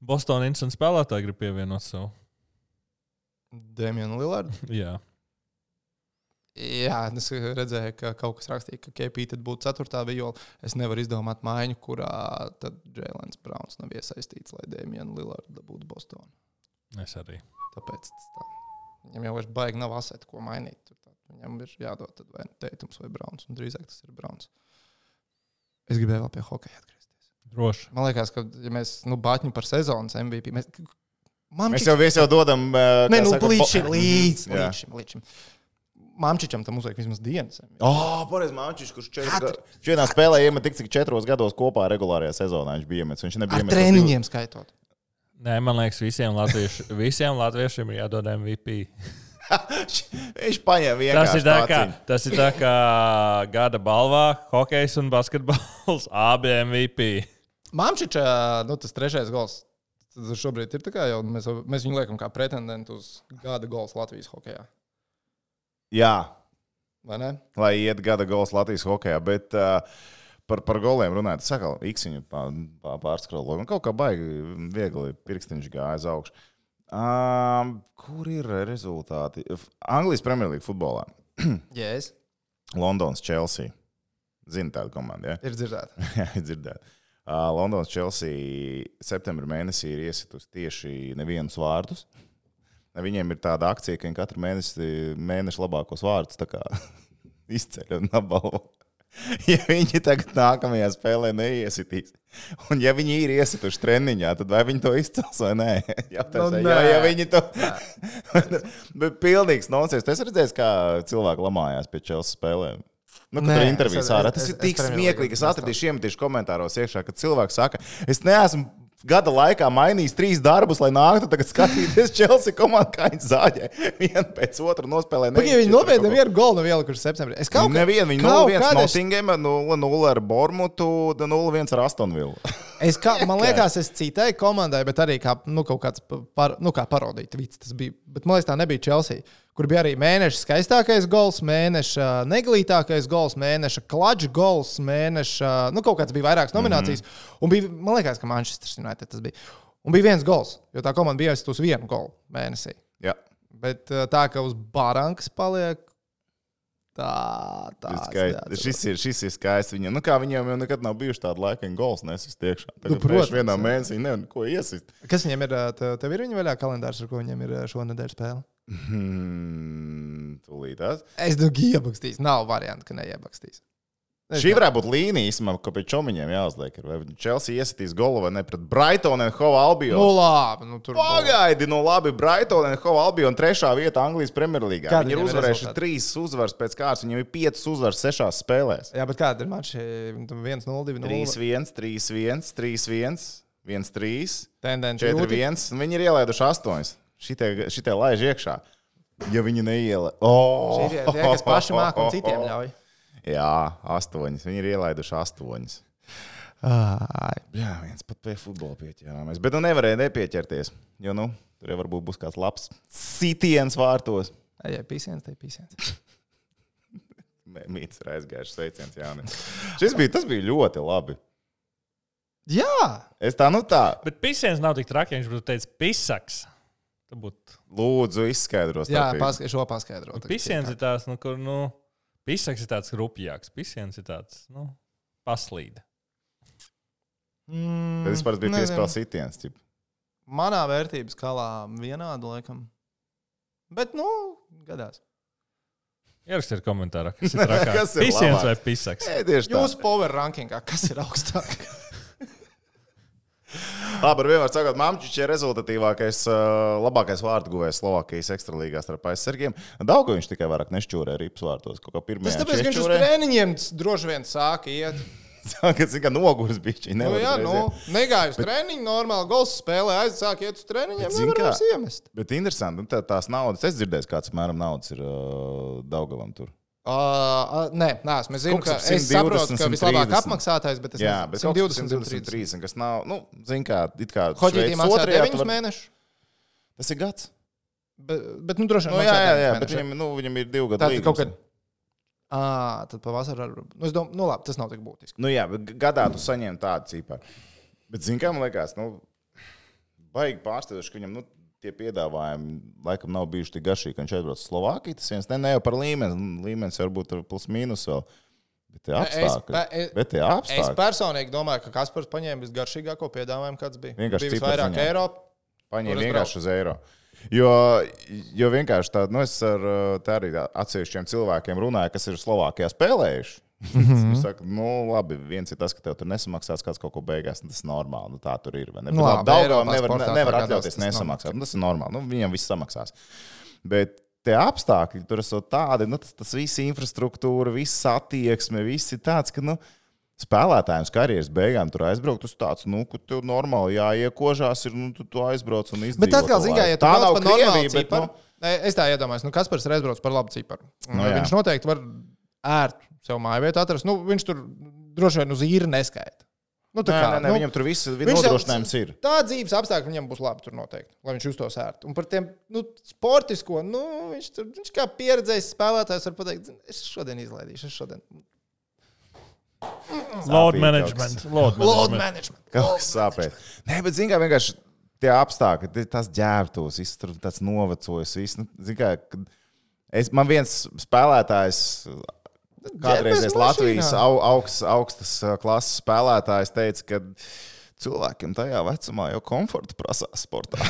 S3: Bostonas Instant spēlētāji grib pievienot savu.
S1: Dēmjana Lillarda.
S3: Jā,
S1: Jā, es redzēju, ka kaut kas rakstīja, ka KP tad būtu ceturtā viola. Es nevaru izdomāt mājiņu, kurā tad Jēlens Browns nav iesaistīts, lai Dēmjana Lillarda būtu Bostonā.
S3: es arī.
S1: Tāpēc tas tā. viņam jau vairs baigi nav asēta, ko mainīt. Tur tā, Viņam ir jādod tad vai nu teitums vai brauns, un drīzāk tas ir brauns. Es gribēju vēl pie hokeja atgriezties.
S3: Droši.
S1: Man liekas, ka ja mēs nu, bāķņu par sezonas MVP. Mēs, man
S2: Mēs jau, mēs jau dodam. eh,
S1: Nē,
S2: kā
S1: nu,
S2: saka,
S1: līdz
S2: po-
S1: šim, līdz,
S2: Jā.
S1: līdz šim, līdz šim. Mamčičam tam uzliek vismaz dienas. MVP.
S2: Ah, pareizi, Mārcis, kurš četri
S1: Katru-
S2: gadi- viņš vienā spēlē iemet tik cik četros gados kopā regulārajā sezonā. Viņš bija iemetis. Viņš nebija
S1: Ar
S2: iemetis.
S1: treniņiem skaitot.
S3: Nē, man liekas, visiem, latviešu, visiem latviešiem ir jādod MVP.
S2: Viņš paņēma
S3: Tas
S2: vienkārši
S3: ir, tā kā,
S2: tādu.
S3: tas ir tā kā gada balvā, hokejs un basketbols. Abi MVP.
S1: Māmčiča, nu, tas trešais gols. Tas šobrīd ir tā kā jau mēs, mēs viņu liekam kā pretendentu uz gada gols Latvijas hokeja.
S2: Jā,
S1: Vai ne?
S2: lai iet gada gols Latvijas hokeja. Bet uh, par, par goliem runājot, saka, Iksiņu pārskroloju. Man Nu, kaut kā baigi viegli pirkstiņš gāja uz augšu. Um, kur ir rezultāti? F- Anglijas Premjerlīga futbolā.
S1: Jā, yes.
S2: Londons, Chelsea. Zini tādu komandu, ja?
S1: ir dzirdēta.
S2: Jā, dzirdēt. Uh, Londonas Chelsea septembrī mēnesī ir iesitusi tieši nevienus vārdus. Viņiem ir tāda akcija, ka viņi katru mēnesi, mēnešu labākos vārdus tā kā izceļ un apbalvo. Ja viņi tagad nākamajā spēlē neiesitīs, un ja viņi ir iesituši treniņā, tad vai viņi to izcels vai nē? Jā, tas
S1: Nu,
S2: ir.
S1: nē.
S2: Ja viņi to. Bet pilnīgs nonsens. Es redzēju, kā cilvēki lamājās pie Chelsea spēlēm. Nu,
S1: Nē,
S2: Nē,
S1: es-
S2: intervijas
S1: es-
S2: ārā.
S1: es-
S2: Tas ir
S1: es
S2: tik
S1: Premier
S2: smieklīgi.
S1: League
S2: Es atradīšu iemetīšu komentāros iekšā, ka cilvēks saka, es neesmu gada laikā mainījis trīs darbus, lai nāktu tagad skatīties Chelsea komandu, kā viņi zāģē. Vienu pēc otru nospēlē.
S1: Pagaidiet, viņi nopietni nevienu golu nav ielikuši septembrī. Es kaut kā
S2: Nevienu, viņi
S1: kaut
S2: 0-1
S1: kad es-
S2: Nottingham, 0-0 ar Bormutu, 0-1 ar Astonvillu.
S1: Es kā, man liekas, es citai komandai, bet arī kā, nu, kaut kāds pa- par, nu, kā parodija tvīts tas bija. Bet man liekas, tā nebija Chelsea, kur bija arī mēneša skaistākais gols, mēneša uh, neglītākais gols, mēneša klāča gols, mēneša, nu, kaut kāds bija vairākas nominācijas. Mm -hmm. Un bija, man liekas, ka Manchester United tas bija. Un bija viens gols, jo tā komanda bija aizsūtusi vienu golu mēnesī.
S2: Jā,
S1: Bet eh, tā, ka uz barankas paliek. Tā, tā.
S2: tas ir skaisti. Šis ir, šis ir skaisti. Viņam, nu, kā viņiem jau nekad nav bijuši tādi laiki, kad gols nesist iekšā. Tagad, nu,
S1: protams,
S2: protams, vienā
S1: jā.
S2: mēnesī nevienu ko iesist.
S1: Kas viņiem ir? eh, te- Tev ir viņa vaļā kalendārs, ar ko viņiem ir eh, šonadēļ spēle?
S2: Hmm, tūlītās.
S1: Es domāju, iebakstīs. Nav variantu, ka neiebakstīs. Es
S2: Šī varētu būt līnija, īstenībā, ko pie čomiņiem jāuzliek. ir, Vai Chelsea iesitīs golu vai ne pret Brightonu un Hova
S1: Nu,
S2: Albionu?
S1: labi, nu, tur bija.
S2: Pagaidi, nu labi, Brighton un Hova Albion trešā vieta Anglijas Premjerlīgā.
S1: Kādi
S2: Viņi ir
S1: viņiem ir
S2: uzvarējuši
S1: rezultāti?
S2: trīs uzvaras pēc kārtas, viņiem ir piecas uzvaras sešās spēlēs.
S1: Jā, bet kāda ir Nu, mačs? 1, 0, 2, 0.
S2: 3-1, 3-1, 3-1, 1-3,
S1: Tendence
S2: 4-1, un viņi ir ielaiduši astoņas. Šitie, šitie laiž iekšā. Ja viņi neiela. Oh!
S1: Tie, tie, kas paši māk un citiem ļauj.
S2: Jā, astoņas. Viņi ir ielaiduši astoņas.
S1: Ai,
S2: Jā, viens pat pie futbola pieķērāmies. Bet nu nevarēja nepieķerties. Jo nu, tur jau varbūt būs kāds labs sitiens vārtos.
S1: jā, pīsienas, tai pīsienas.
S2: Mē- Mīts ir aizgājušas sveiciens Jānis. Šis bija, tas bija ļoti labi.
S1: Jā,
S2: Es tā, nu tā,
S3: Bet pisiens nav tik traki, ja viņš būtu teicis pisaks. Tad būtu.
S2: Nu, lūdzu, izskaidros.
S1: jā
S2: starpību.
S1: paska, šo paskaidrot.
S3: Pisiens ir tāds, nu, kur, nu, pisaks ir tāds rupjāks. Pisiens ir tāds, nu, paslīd.
S1: Mm,
S2: Bet vispār tas bija
S1: nezinu.
S2: piespēles sitiens. Čip.
S1: Manā vērtības skalā vienāda, laikam. Bet, nu, gadās.
S3: Ierakstiet komentārā, kas ir trakāk.
S2: Kas ir
S3: pisiens
S2: labāk?
S3: vai pisaks?
S2: Ē, tieši tā.
S1: Jūsu power rankingā, kas ir augstāk?
S2: Labi, ar vienmēr sakot, Māmčiņš ir rezultatīvākais, ā, labākais vārdu guvējs Slovākijas ekstralīgā starp aizsargiem. Daudzā viņš tikai vairāk nešķūrē rips vārtos. Kaut kā pirmā
S1: Tas tāpēc, ka viņš uz treniņiem droši vien sāka iet.
S2: Sākas, ka noguris bija.
S1: Nu, jā, nu, negāju uz treniņu, normāli gols spēlē, aizsāk iet uz
S2: Bet
S1: treniņiem,
S2: zini
S1: nevar
S2: kā?
S1: vairs iemest.
S2: Bet interesanti, nu, tā, tās naudas. Es dzirdēju, kāds mēram naudas ir uh, Daugavam tur.
S1: Uh, nē, nē, esmu zinu,
S2: Kaut
S1: ka
S2: kas ap
S1: es saprotu,
S2: 120,
S1: ka vislabāk
S2: 130.
S1: apmaksātais, bet es
S2: Jā, bet 120,
S1: 120.
S2: 130, kas nav, nu, zin kā, it kā.
S1: Hoģītī
S2: Šveicas
S1: maksā
S2: otrajā tu
S1: 9
S2: vari-
S1: mēnešus,
S2: Tas ir gads.
S1: bet, bet, nu, droši
S2: Nu,
S1: vien.
S2: jā,
S1: maksā
S2: jā, jā,
S1: deviņus
S2: bet
S1: mēnešus.
S2: viņam, nu, viņam ir divi gadi.
S1: Tad
S2: līgums.
S1: kaut kad. Ah, tad pavasarī. ar- Nu, es domāju, nu, labi, tas nav tik būtiski.
S2: Nu, jā, bet gadā tu saņem tādu cipari. Bet, zin kā, man liekas, nu, baigi pārsteidzoši, ka viņam, nu, tie piedāvājumi laikam nav bijuši tik garšīgi, ka viņš aizbrauc uz Slovākiju. Tas viens, ne, ne jau par līmeni, nu, līmenis varbūt ir plus mīnus vēl. Bet tie
S1: es
S2: apstākļi.
S1: pe- es-
S2: Bet tie
S1: Es
S2: apstākļi.
S1: personīgi domāju, ka Kaspars paņēma visgaršīgāko piedāvājumu, kāds bija.
S2: Vienkārši
S1: bija
S2: cipars
S1: vairāk
S2: viņam.
S1: Eiropas.
S2: Paņēma
S1: Tur es
S2: vienkārši uz eiro. Jo, jo vienkārši tādu, nu, es ar uh, tā arī tā- atsevišķiem cilvēkiem runāju, kas ir Slovākijā spēlējuši.
S1: Mhm.
S2: Viņi saka, nu, labi, viens ir tas, ka tev tur nesamaksās kāds kaut ko beigās, un tas ir normāli. Nu, tā tur ir. vai Ne?
S1: Nu,
S2: Nu,
S1: labi,
S2: Daudzām
S1: Eiropā
S2: nevar,
S1: sportā
S2: ne- nevar
S1: tā gadās,
S2: atļauties
S1: tas
S2: nesamaksāt. Nu, tas ir normāli. Nu, viņam viss samaksās. Bet tie apstākļi tur ir tādi, nu, tas, tas viss infrastruktūra, viss attieksme, viss ir tāds, ka. Nu, Spēlētājiem karjeras beigām tur aizbraukt uz tādu, nu, kur tev normāli jāiekožās, ir, nu, tu, tu aizbrauc un izdzīvo.
S1: Bet atkal,
S2: to
S1: zināmā mērā,
S2: laiku.
S1: ja tu tā nav normāla
S2: Krievija, bet,
S1: cipara. Nu... Es tā iedomājos, nu, Kaspars ir aizbraucis par labu ciparu.
S2: Nu
S1: Nu,
S2: jā.
S1: viņš noteikti var ērti sev māju vietu atrast. Nu, viņš tur droši vien uz īri neskaita. Nu,
S2: Nē,
S1: tā kā,
S2: nē, nē,
S1: nu,
S2: viņam tur viss
S1: viņš jau-
S2: nodrošinājums ir.
S1: Tā dzīves apstākļi viņam būs labi tur noteikti, lai viņš justos ērti. Un par tiem nu, sportisko, nu, viņš, tur, viņš kā pieredzējis spēlētājs var pateikt, "Zini, es šodien izlaidīšu, es šodien.
S3: Load
S2: Sāpīgi
S3: management. Load
S1: Load
S3: management.
S1: management.
S2: Kaut kas sāpēs. Nē, bet zini, kā vienkārši tie apstākļi, tie- tās ģērbtos, viss tur tāds novecojis. Viss, nu, zini, kā, kad es, man viens spēlētājs, kādreizējais
S1: Ģērbies
S2: Latvijas
S1: mašīnā.
S2: au, augst, augstas ā, klases spēlētājs, teica, ka cilvēkiem tajā vecumā jau komforta prasās sportā.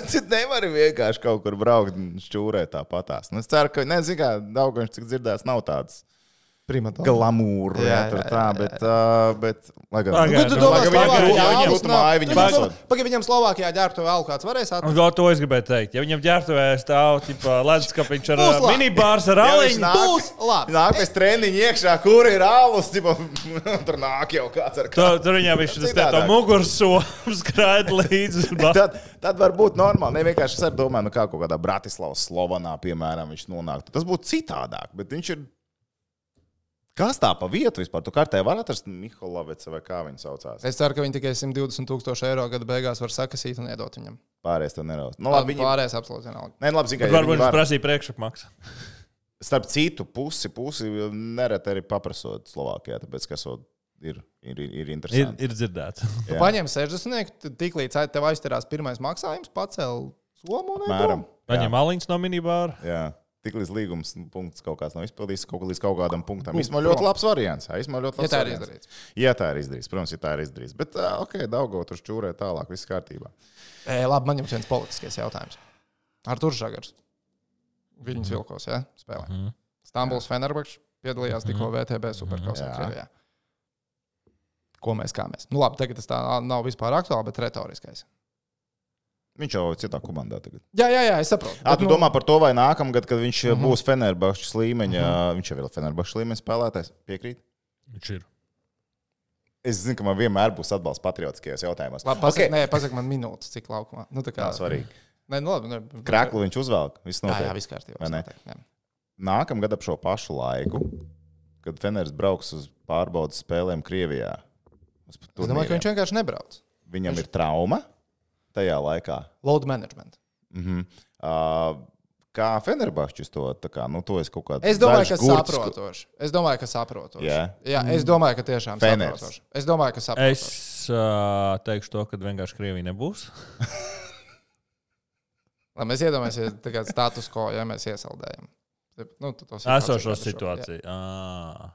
S2: Tu nevari vienkārši kaut kur braukt un šķūrēt tāpatās. Nu, es ceru, ka, nezinu, kā Daugonš, cik dzirdēs, nav tāds
S1: Primatā.
S2: glamūra, jā,
S1: Jā,
S2: tur
S1: jā,
S2: tā, bet, ā, bet, lai gan.
S3: Pagaid,
S1: Ko tu
S3: Nu,
S1: domā,
S3: lai gan
S1: Slovākijā
S3: viņam-
S1: ģērbs
S2: viņam
S1: nav?
S2: būtu māja, viņam
S1: Tu domā,
S2: esot.
S1: Pagaid, viņam Slovākijā ģērbtu vēl kāds varēs atrast.
S3: Un kā to es gribēju teikt? Ja viņam ģērbtuvēs tādu ledus kapiņš ar
S1: Puslā.
S3: minibārs ar
S2: Jā, viņš
S3: aliņu,
S2: nāk-
S1: Būs labi.
S2: Nāk pēc treniņa iekšā, kur ir alus. Tipa, tur nāk jau kāds ar
S3: tu- tur viņam viņš tas tā
S2: Citādāk.
S3: mugursoms skraid līdzi. un ba-
S2: Tad, tad var būt normāli. Ne vienkārši es arī domāju, nu, kā kaut kādā Bratislavas Slovenā, piemēram, viņš nonāktu. Tas būtu citādāk, bet viņš ir. Kas tā pa vietu vispār? Tu kartē var atrast Miholovicu vai kā viņu saucās.
S1: Es ceru, ka viņi tikai 120 tūkstoši eiro gada beigās var sakasīt un iedot viņam.
S2: Pārējais tev neraust. Nu, labi,
S1: Labi,
S2: viņi...
S1: pārējais absolūti vienalga.
S2: Nē, nu, labi, zinu,
S3: Bet
S2: ka
S3: Varbūt
S2: viņi
S3: viņš
S2: var.
S3: prasīja priekšapmaksu.
S2: Starp citu, pusi, pusi nereti arī paprasot Slovākijā, tāpēc, ka esot ir, ir, ir, ir
S3: Ir,
S2: interesanti.
S3: ir dzirdēts.
S1: Tu paņem 60, tad tiklīdz ai- tev aizterās pirmais maksājums, pacēl somu un
S2: Mēram.
S1: aizdod.
S3: Paņem aliņus no minibāra.
S2: Jā. Tiklīdz līgums nu, punkts kaut kāds nav izpildīts, kaut kā līdz kaut kādam punktam.
S1: Punkts
S2: Īsumā
S1: prom.
S2: ļoti labs variants. Jā, īsumā ļoti
S1: Ja
S2: labs.
S1: tā ir
S2: variants.
S1: izdarīts.
S2: Ja tā ir izdarīts, protams, ja tā ir izdarīts. Bet, ā, ok, Daugo tur šķūrē tālāk, viss kārtībā.
S1: E, labi, man jums viens politiskais jautājums. Ar Turžagars.
S2: Mhm.
S1: Viņus vilkos, jā, spēlē.
S3: Mhm.
S1: Stambuls Fenerbakšs piedalījās tikko VTB superkausā
S2: Mhm. Jā.
S1: Krievijā. Ko mēs kā mēs? Nu labi, tagad tas tā nav vispār aktuāli, bet retoriskais.
S2: Viņš jau citā komandā tagad.
S1: Jā, jā, jā, es saprotu.
S2: Jā,
S1: Bet,
S2: tu
S1: nu,
S2: domā par to, vai nākamgad, kad viņš mm -hmm.
S1: Mhm.
S2: būs Fenerbahčs līmeņa, mm -hmm. viņš jau ir Fenerbahčs līmeņa spēlētājs. Piekrīt?
S3: Viņš ir.
S2: Es zinu, ka man vienmēr būs atbalsts patriotiskajos jautājumos.
S1: Labi, pasak,
S2: Ok.
S1: okay. nē, pasak man minūtes, cik laukumā. Nu, tā kā
S2: Nav svarīgi.
S1: Nē, nu, labi. Ne,
S2: Kraklu viņš uzvelk. Viss
S1: Jā, jā,
S2: notiek.
S1: viss kārtībā.
S2: Vai
S1: viss
S2: ne?
S1: notiek, jā.
S2: Nākamgad ap šo pašu laiku, kad Feners brauks uz pārbaudas spēlēm Krievijā. uz
S1: Es domāju,
S2: turnīriem.
S1: ka viņš vienkārši nebrauc.
S2: Viņam ir trauma tajā laikā.
S1: Load management.
S2: Mhm. Uh, kā Fenerbahčs to tā kā, nu, to es kaut kādā
S1: Es domāju,
S2: zaļš
S1: ka
S2: gurts,
S1: saprotoši. Es domāju, ka saprotoši.
S2: Jā.
S1: jā, es domāju, ka tiešām
S2: Feners.
S1: saprotoši. Es domāju, ka saprotoši.
S3: Es uh, teikšu to, ka vienkārši Krievija nebūs.
S1: Lai mēs iedomājamies, ja kāda status quo, ja mēs iesaldējam. Nu, tu to situāciju
S3: Esošo
S1: kādu šo-
S3: situāciju. Ā.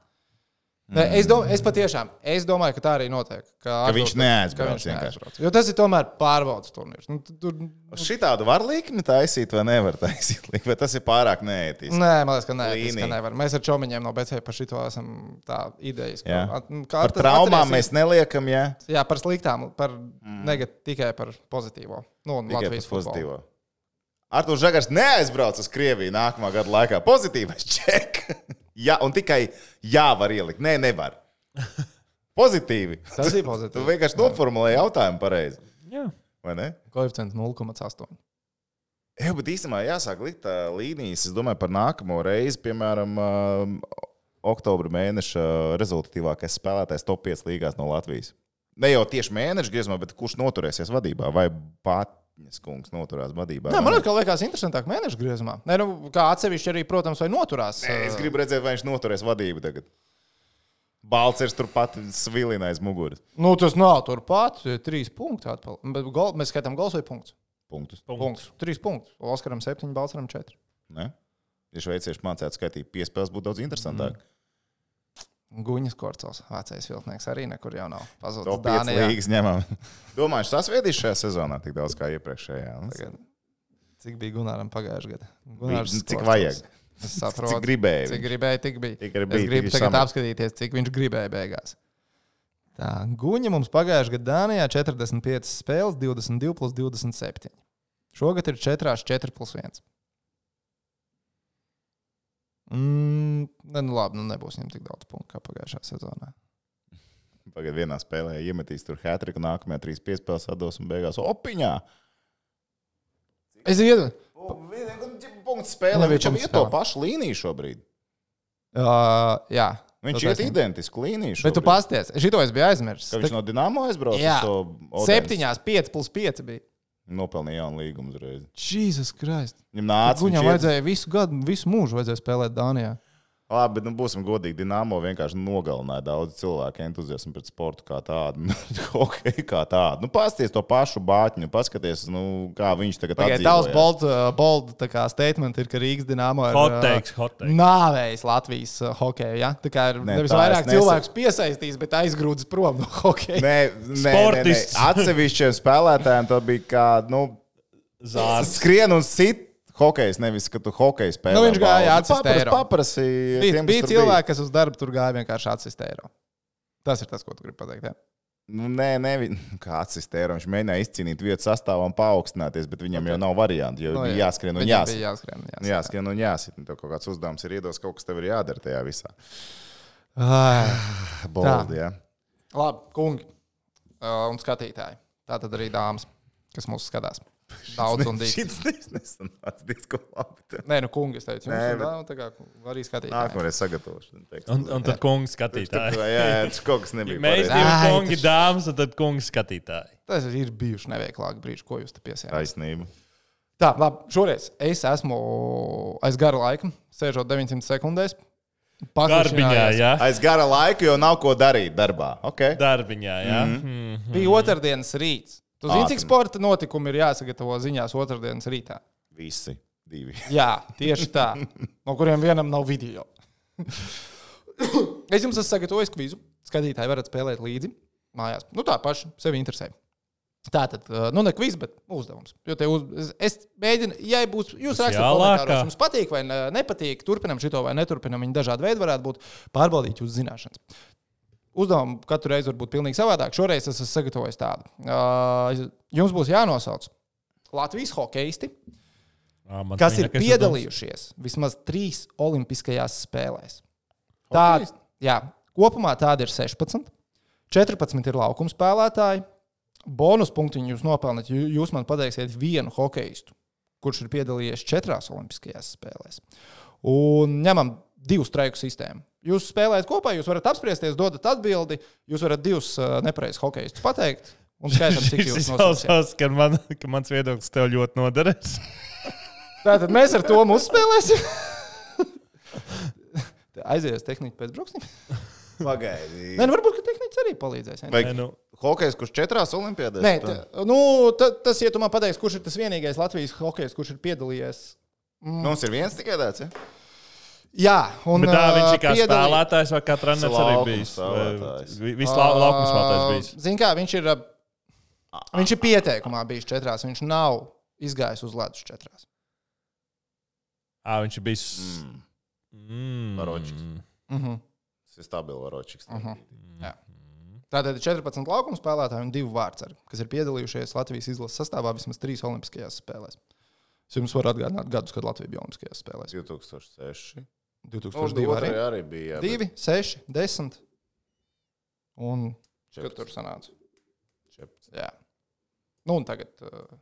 S1: Ne, es, dom, es patiešām es domāju, ka tā arī notiek. Ka,
S2: Ka viņš neaizbrauc vienkārši.
S1: neaizbrauc. Jo tas ir tomēr pārbaudas turnīrs. Nu, tu- tur,
S2: Šitādu var likmi taisīt vai nevar taisīt likmi, bet tas ir pārāk neētiski.
S1: nē, man liekas, ka, nē, tas, ka
S2: Līnija.
S1: nevar. Mēs ar čomiņiem no BC par šito esam tā idejas. nu,
S2: Jā.
S1: kā
S2: Par traumām mēs neliekam, jā,
S1: Jā, par sliktām, par mm. negat, tikai par pozitīvo. Nu, un
S2: Mhm. tikai
S1: Latvijas
S2: par
S1: pozitīvo.
S2: pozitīvo. Artur Žagars neaizbrauc uz Krieviju nākamā gada laikā. Pozitīvais ček. Jā, un tikai jā var ielikt. Nē, nevar. Pozitīvi.
S1: Tas ir
S2: Tu
S1: pozitīvi.
S2: vienkārši noformulēji jautājumu pareizi.
S3: Jā.
S2: Vai ne?
S1: Koeficients 0,8.
S2: Jā, bet īstenībā jāsāk likt ā, līnijas. Es domāju par nākamo reizi, piemēram, ām, oktobra mēneša rezultatīvākais spēlētājs top 5 līgās no Latvijas. Ne jau tieši mēneša griezumā, bet kurš noturēsies vadībā vai Pātņas kungs noturās vadībā?
S1: Nē, man atkal liekas, interesantāk mēneša griezumā. Nē, nu, kā atsevišķi arī, protams, vai noturās.
S2: Nē, es
S1: ā,
S2: gribu redzēt, vai viņš noturēs vadību tagad. Balcers turpat svilina aiz muguras.
S1: Nu, tas nav turpat, ir trīs punkti. Atpal. Bet gol, mēs skaitām gols vai punktus?
S2: Punktus.
S1: Punkts. Trīs punktus. Oskaram septiņi, Balsaram četri.
S2: Ne? Ja šveicieši mācītu skaitīt piespēles, būtu daudz interesantāk. Mm.
S1: Guņas korcels, vecais viltnieks arī nekur jau nav. Pazudis
S2: Top 5
S1: Dānijā.
S2: līgas ņemam. Domāju, sasviedīs šajā sezonā tik daudz kā iepriekšējā. Un
S1: Tagad, Cik bija Gunāram pagājušajā gadā?
S2: nu,
S1: Gunārs
S2: cik
S1: Korcels.
S2: vajag.
S1: Es
S2: Cik
S1: saprotu.
S2: gribēja.
S1: Cik
S2: Cik...
S1: gribēja, tik bija.
S2: Tik
S1: Es
S2: gribēja,
S1: gribu
S2: tik
S1: tagad
S2: samet.
S1: apskatīties, cik viņš gribēja beigās. Tā, Guņa mums pagājušajā gadā Dānijā 45 spēles, 22 plus 27. Šogad ir 4, 4 plus 1. Mm, ne, nu labi, nu nebūs viņam tik daudz punktu kā pagājušā sezonā.
S2: Pagaidā vienā spēlē iemetīs tur hatriku, nākamajā trīs piespēlēs atdos un beigās opiņā.
S1: Es iedomājos,
S2: Punkts spēlē.
S1: Nu, viņš
S2: Viņam
S1: punkts
S2: ir to
S1: spēlē.
S2: pašu līniju šobrīd.
S1: uh, jā.
S2: Viņš
S1: Tu
S2: ir
S1: taisnība.
S2: identisks līniju.
S1: Bet tu
S2: šobrīd.
S1: pasties, šito es biju
S2: Ka
S1: aizmirsis.
S2: viņš no Dienāmo aizbrauca
S1: Jā.
S2: uz to Odense.
S1: 7, 5 plus 5 bija.
S2: Nopelnīja jaunu līgumu uzreiz.
S1: Jēzus Kristus!
S2: Viņam nāca
S1: Viņam
S2: līdz.
S1: vajadzēja visu gadu, visu mūžu vajadzēja spēlēt Dānijā.
S2: Labi, bet nu, būsim godīgi. Dienāmo vienkārši nogalināja daudz cilvēku entuziasmu pret sportu kā tādu. nu, Hokeju kā tādu. Nu, pasties to pašu bāķiņu, paskaties, nu, kā viņš tagad
S1: Tikai tavs
S2: atdzīvojās.
S1: bold, uh, bold tā kā, statement ir, ka Rīgas dīnāma ir
S3: Hot
S1: uh,
S3: takes, hot takes.
S1: nāvējis Latvijas uh, hokeju. Ja? Tā kā ir
S2: Nē,
S1: ne, nevis
S2: tā
S1: vairāk
S2: es nesaku.
S1: cilvēkus piesaistījis, bet aizgrūdis prom no hokeja.
S2: Nē, nē, nē, nē.
S3: Sportists.
S2: Atsevišķiem spēlētājiem tas bija kā nu,
S3: Zārds.
S2: skrien un sit. Hokejs nevis, ka tu hokeju spēlē.
S1: Nu, viņš gāja atsist
S2: paprasti.
S1: eiro.
S2: Paprasti.
S1: Bija, bija cilvēki, kas uz darbu tur gāja vienkārši atsist eiro. Tas ir tas, ko tu gribi pateikt. Ja?
S2: Nu, nē, nē, vi- kā atsistēra. Viņš mēģināja izcīnīt vietu sastāvā un paaugstināties, bet viņam jau nav variantu. Jo
S1: Nu,
S2: bija
S1: jā.
S2: jāskrien un
S1: Viņam
S2: jāsit.
S1: bija jāskrien. un jāskrien.
S2: Jāskrien un jāsit. un Tev kaut kāds uzdevums ir iedos, kaut kas tev ir jādara tajā visā.
S1: Ai,
S2: Boldi, jā.
S1: Labi, kungi uh, un skatītāji. Tā tad arī dāmas, kas mūs skatās. Daudz un dīvaini.
S2: Šis nesanāca diezko labi. tev.
S1: Nē, nu, kungi, es teicu, jums
S2: Nē,
S1: ir
S2: bet-
S1: dāmas, tā kā arī skatītāji.
S2: Nākamreiz sagatavošu. tekstu.
S3: Un, un tad kungs
S2: Tur-
S3: skatītāji.
S2: Jā, jā, tas kaut kas nebija.
S3: Mēs
S2: pareizi.
S3: divi
S1: Ai,
S3: kungi,
S1: tas-
S3: dāmas, un tad kungi skatītāji.
S1: Tas ir bijuši neveiklāki brīži, ko jūs te piesēžat.
S2: Taisnība.
S1: Tā, labi, šoreiz es esmu aiz gara laika, sēžot 900 sekundēs.
S3: Darbiņā,
S1: paklušinājos.
S3: jā.
S2: Aiz gara laika, jo nav ko darīt darbā. Okay.
S3: Darbiņā, jā.
S1: Mhm.
S3: Mm.
S1: Bija otrdienas rīts. Tu zini,
S2: Ātri.
S1: cik sporta notikumi ir jāsagatavo ziņās otrdienas rītā?
S2: Visi divi.
S1: Jā, tieši tā. No kuriem vienam nav video. es jums esmu sagatavojis kvizu. Skatītāji varat spēlēt līdzi mājās. Nu, tā paši sevi interesē. Tā tad, nu, ne kviz, bet uzdevums. Jo te uz, es- es mēģinu, ja būs, jūs rakstat,
S3: jālākā.
S1: komentāros, jums patīk vai ne- nepatīk, turpinam šito vai neturpinam, viņi dažādi veidi varētu būt, pārbaudīt jūsu zināšanas. Uzdevumu katru reizi var būt pilnīgi savādāk. Šoreiz es esmu sagatavojis tādu. Uh, Jums būs jānosauc Latvijas hokeisti,
S3: Ā, Ah, man
S1: kas
S3: bija
S1: ir
S3: nekas
S1: piedalījušies vismaz trīs Olimpiskajās spēlēs. Tā, jā, kopumā tāda ir 16. 14 ir laukuma spēlētāji. Bonus punktiņu jūs nopelnāt, ja jūs man pateiksiet vienu hokeistu, kurš ir piedalījies četrās Olimpiskajās spēlēs. Un ņemam divu streiku sistēmu. Jūs spēlējat kopā, jūs varat apspriesties, dodat atbildi, jūs varat divus uh, nepareizus hokeistus pateikt. Un skaitām, cik
S3: Šis
S1: jūs nosauksiet.
S3: izklausās, ka, man, ka mans viedoklis tev ļoti noderēs.
S1: Tātad mēs ar to uzspēlēsim. Aizies tehnika pēc brūksnīm.
S2: Pagaidi.
S1: Nē, nu, varbūt ka tehnika arī palīdzēs. ja?
S2: Vai
S3: Nē, nu,
S2: hokejs, kurš četrās olimpiadēs?
S1: Nē,
S2: tā.
S1: tā, nu, ta, tas, ja tu man pateiksi, kurš ir tas vienīgais Latvijas hokejs, kurš ir piedalījies.
S2: Mums ir viens tikai tāds. Ja?
S1: Jā, un
S3: Bet tā viņš ir kā
S1: piedalī-
S3: spēlētājs vai kā treneris arī
S2: Laukuma
S3: bijis.
S2: spēlētājs.
S3: Vai vi- Viss lau- laukuma spēlētājs
S1: Ā,
S3: bijis.
S1: Zini, kā viņš ir. ā, Viņš ir pieteikumā bijis četrās. Viņš nav izgājis uz ledus četrās.
S3: Ā, viņš ir bijis.
S2: Mm,
S3: Mm.
S2: Varočiks.
S1: Uh -huh.
S2: Tas ir stabils varočiks.
S1: Uh -huh. Tātad ir 14 laukuma spēlētāji un 2 vārdsargi, kas ir piedalījušies Latvijas izlases sastāvā vismaz 3 Olimpiskajās spēlēs. Es jums varu atgādināt gadus, kad Latvija bija Olimpiskajās spēlēs.
S2: 2006.
S1: 2002
S2: Tur
S1: arī.
S2: arī bija. jā,
S1: 2,
S2: bet
S1: 6, 10. Un kad
S2: 14,
S1: tur sanāca?
S2: 14.
S1: Jā. Nu un tagad. Uh,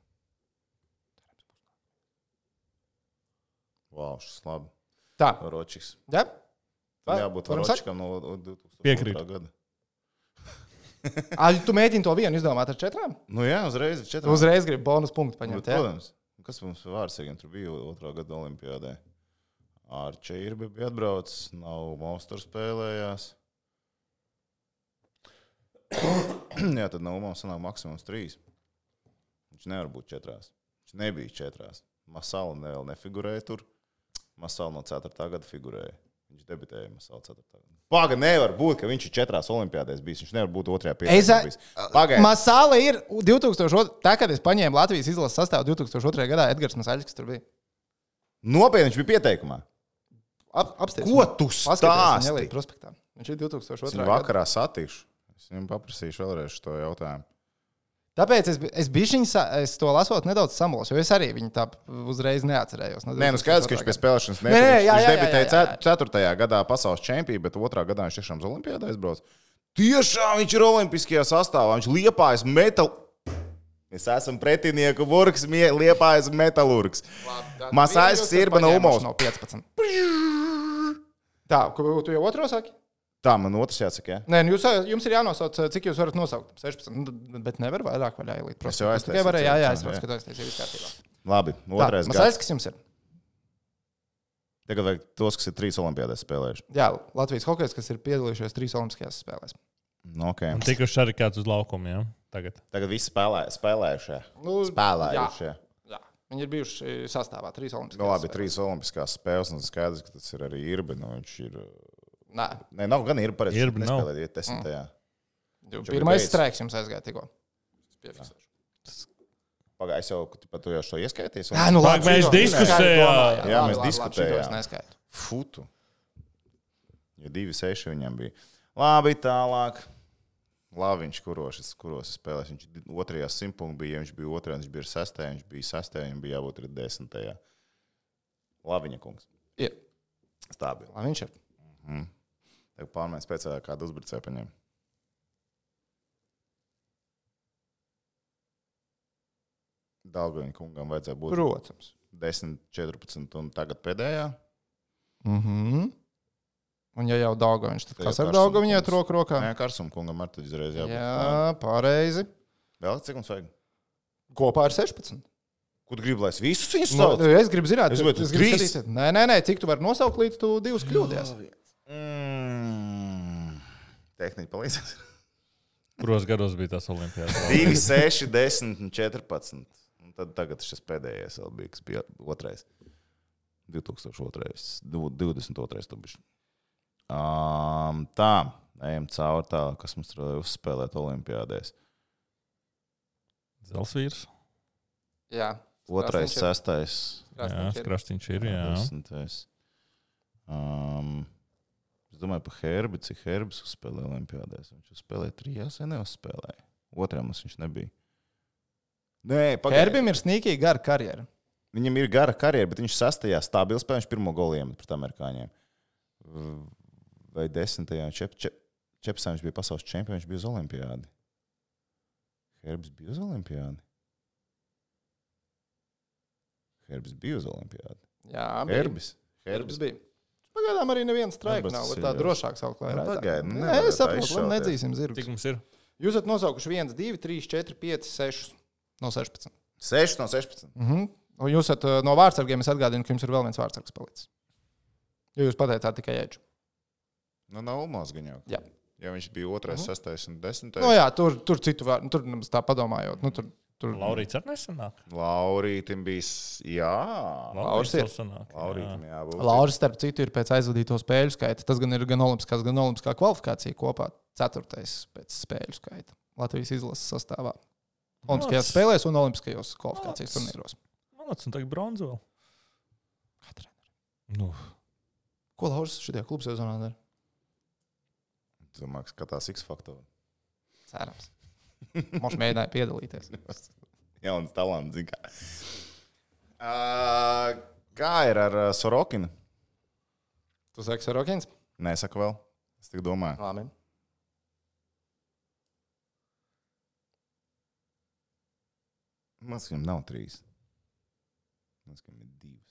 S2: Vau, šis labi.
S1: tā.
S2: Varočiks.
S1: Jā.
S2: Tam
S1: Vai-
S2: jābūt
S1: varam
S2: varočikam no 2000.
S3: Piekrītu.
S2: gada.
S1: Ai, tu mēģini to vienu izdomāt ar četrām?
S2: Nu jā, uzreiz ir
S1: Tu
S2: 4.
S1: Uzreiz gribi bonus punktu
S2: Bet,
S1: paņemt. jā?
S2: protams, kas mums bija vārsakām, tur bija otrā gada olimpiādē. Ar Čeirbi bija atbraucis, nav monstru spēlējās. Jā, tad nav mums sanāk maksimums trīs. Viņš nevar būt četrās. Viņš nebija četrās. Masāla ne, vēl nefigurēja tur. Masāla no 4. gada figurēja. Viņš debitēja Masāla 4. gada. Paga, nevar būt, ka viņš ir četrās olimpiādēs bijis. Viņš nevar būt otrajā
S1: Es-
S2: piecdesmit. Pagaid,
S1: Masāle ir 2002. Tā, kad es paņēmu Latvijas izlases sastāvu 2002. gadā, Edgars Masaļskis tur bija.
S2: nopietni viņš bija pieteikumā.
S1: Ap, apstiprināts.
S2: Ko tu
S1: Viņš
S2: stāsti?
S1: ir prospektā. Viņš ir
S2: Es
S1: 2002.
S2: viņu
S1: gadā.
S2: vakarā satikšu. Es viņam paprasīšu vēlreiz šo jautājumu.
S1: Tāpēc es, bi- es biju viņa, es to lasot nedaudz samulos, jo es arī viņu tā uzreiz neatcerējos. No
S2: Nē, nu skaidrs, ka viņš
S1: 2002.
S2: pēc
S1: nē,
S2: spēlēšanas nebija.
S1: jā,
S2: Viņš
S1: jā, jā, jā,
S2: debitēja
S1: jā.
S2: cet- ceturtajā gadā pasaules čempionā, bet otrā gadā viņš tiešām uz olimpiādā aizbrauc. Tiešām viņš ir olimpiskajā sastāvā. Viņš liepājas metālu. Mēs esam pretinieku burks, mie- liepājas metālurgs.
S1: Labi,
S2: Masais Sirba no Umovas.
S1: No 15. Tā, ko tu jau otro saki?
S2: Tā man otrs jāsaka. Jā.
S1: Nē, nu jūs, jums ir jānosauc, cik jūs varat nosaukt. 16, nu, bet nevar vairāk vaļā ielikt.
S2: Es jau
S1: prospektā.
S2: aiztaisīju
S1: tikai varēju, jā, jā,
S2: cilvēku,
S1: es redzu,
S2: jā.
S1: ka tu aiztaisīji viss kārtībā.
S2: Labi, otrais gads.
S1: Masais, kas jums ir?
S2: Tagad vajag tos, kas ir trīs olimpiādēs spēlējuši.
S1: Jā, Latvijas hokejs, kas ir piedalījušies trīs olimpiskajās spēlēs.
S2: Nu, okay.
S3: Un tikuši arī kāds uz laukumu. Ja? Tagad.
S2: Tagad viss spēlē, spēlējušie.
S1: Nu,
S2: Spēlējušie.
S1: Jā, jā. Viņi ir bijuši sastāvā trīs olimpiskajās
S2: Nu, labi,
S1: spēlēs.
S2: trīs olimpiskās spēles. un Skaidrs, ka tas ir arī īrbi. Nu, viņš ir.
S1: Nē,
S2: Nē, nav gan īrbi. Pareizi.
S3: Irbi nav.
S2: Nespēlējiet desmitajā.
S1: jo
S2: Čau,
S1: pirmais
S2: beidz.
S1: strēks jums aizgāja tikko.
S2: Pagājis jau, ka tu pat tu jau šo ieskaities.
S1: Jā, nu
S3: Labi, mēs
S1: šito es
S3: diskusējām.
S1: neskaidri domāju,
S2: Jā,
S1: labi, labi,
S2: mēs
S1: labi, šito es
S2: diskutējām.
S1: neskaidu.
S2: Futu. Ja divi seši viņam bija. Labi, tālāk. Laviņš, kuros es, kuros es spēlēju, viņš di- otrajā simtpunktā bija, ja viņš bija otrajā, viņš bija sestajā, viņš bija sestajā, viņam bija jābūt arī desmitajā. Laviņa kungs.
S1: Ir.
S2: Stabili.
S1: Labi, viņš ir.
S2: Mm. Tagad pārmēs pēc tam, kādu uzbrucēju paņem. Daudzpusīgais kungam vajadzēja būt
S1: Protams.
S2: 10, 14 un tagad pēdējā.
S1: Mhm. Un ja jau Dāngavīns, tad
S2: Tad
S1: kas
S2: jau
S1: ar
S2: Karsona
S1: Dāngavīnu iet
S2: kungs.
S1: roku rokā?
S2: Nē, Karsam kungam ar to izreiz jābūt. Jā.
S1: Jā, pareizi.
S2: Vēl cik mums vajag?
S1: Kopā ar 16.
S2: Ko tu gribi, lai es visus viņus
S1: Nu,
S2: saucu?
S1: es gribu zināt,
S2: Es
S1: tu-
S2: gribētu
S1: es gribu
S2: trīs.
S1: skatīties. Nē, nē, nē, cik tu vari nosaukt līdz tu divus kļūdies.
S2: Mm. Tehniski palīdzēs.
S3: Kuros gados bija tas olimpiāts?
S2: 2, 6, 10 un 14. Un tad tagad šis pēdējais vēl bija, kas bija otrais. 2002. du- 22. tu bišķi. Um, tā, ejam cauri tā, kas mums tur vēl uzspēlēt olimpiādēs.
S3: Zelsvīrs.
S1: Jā.
S2: Otrais,
S1: Krasniņš ir.
S2: sestais,
S3: Jā,
S1: Krasniņš ir.
S3: krastīņš ir. Jā.
S2: desmitais. Um, es domāju par Herbu, cik Herbs uzspēlēja olimpiādēs. Viņš uzspēlēja trijās, vai neuzspēlēja? Otrajā mums viņš nebija. Nē, pagaidi.
S1: Herbim ir snīkīgi gara karjera.
S2: Viņam ir gara karjera, bet viņš sastajā stabils spēlē, viņš pirmo golu iemet pret amerikāņiem. Vai desmitajā, čep, čep, čepsā viņš bija pasaules čempions, viņš bija uz olimpiādi. Herbs bija uz olimpiādi. Herbs bija uz olimpiādi.
S1: Jā, bija.
S2: Herbs.
S1: Herbs bija. Pagaidām arī neviens strāva
S2: Herbs
S1: nav.
S2: ir
S1: Tā
S2: jau-
S1: drošāk saukt, lai
S2: Nu, pagaidi, nu,
S1: Nē,
S2: nevar
S1: es
S2: tā
S1: saprotu, labi,
S2: izšaut, jā.
S1: nedzīsim zirgus.
S3: Cik mums ir?
S1: Jūs esat nosaukuši 1, 2, 3, 4, 5, 6 no 16.
S2: 6 no 16.
S1: Mhm. Un jūs esat uh, no vārdsargiem, es atgādinu, ka jums ir vēl viens vārdsargs palicis. Jo jūs pateicāt tikai ēdžu.
S2: Nu, nav Ulmāns gan jau.
S1: Jā.
S2: Ja viņš bija 2, 6 un 10.
S1: Nu, jā, tur, tur citu vārdu, nu, tur nemaz tā padomājot. Nu, tur Tur
S3: Laurīts arī nesanāk.
S2: Laurītam bija. s- Jā,
S1: Lauris ir.
S3: vēl sanāk.
S2: Laurītam jābūt.
S1: Lauris, starp citu, ir pēc aizvadīto spēļu skaita. Tas gan ir gan olimpiskās, gan olimpiskā kvalifikācija kopā. Ceturtais pēc spēļu skaita Latvijas izlases sastāvā. Olimpiskajās
S3: Nāc.
S1: spēlēs un olimpiskajos kvalifikācijas
S3: Nāc.
S1: turnīros.
S3: Malāts un tagad bronzu vēl. Nu,
S1: Ko Lauris šajā klubā sezonā dara?
S2: Domāju, ka skatās X faktoru.
S1: Cerams. Mums mēģināja piedalīties.
S2: Jauns talants, zina. Uh, kā ir ar uh, Sorokinu?
S1: Tu saki, Sorokins?
S2: Nē, saka vēl. Es tik domāju.
S1: Labi.
S2: Man liekas, viņam nav trīs. Man liekas, viņam ir divas.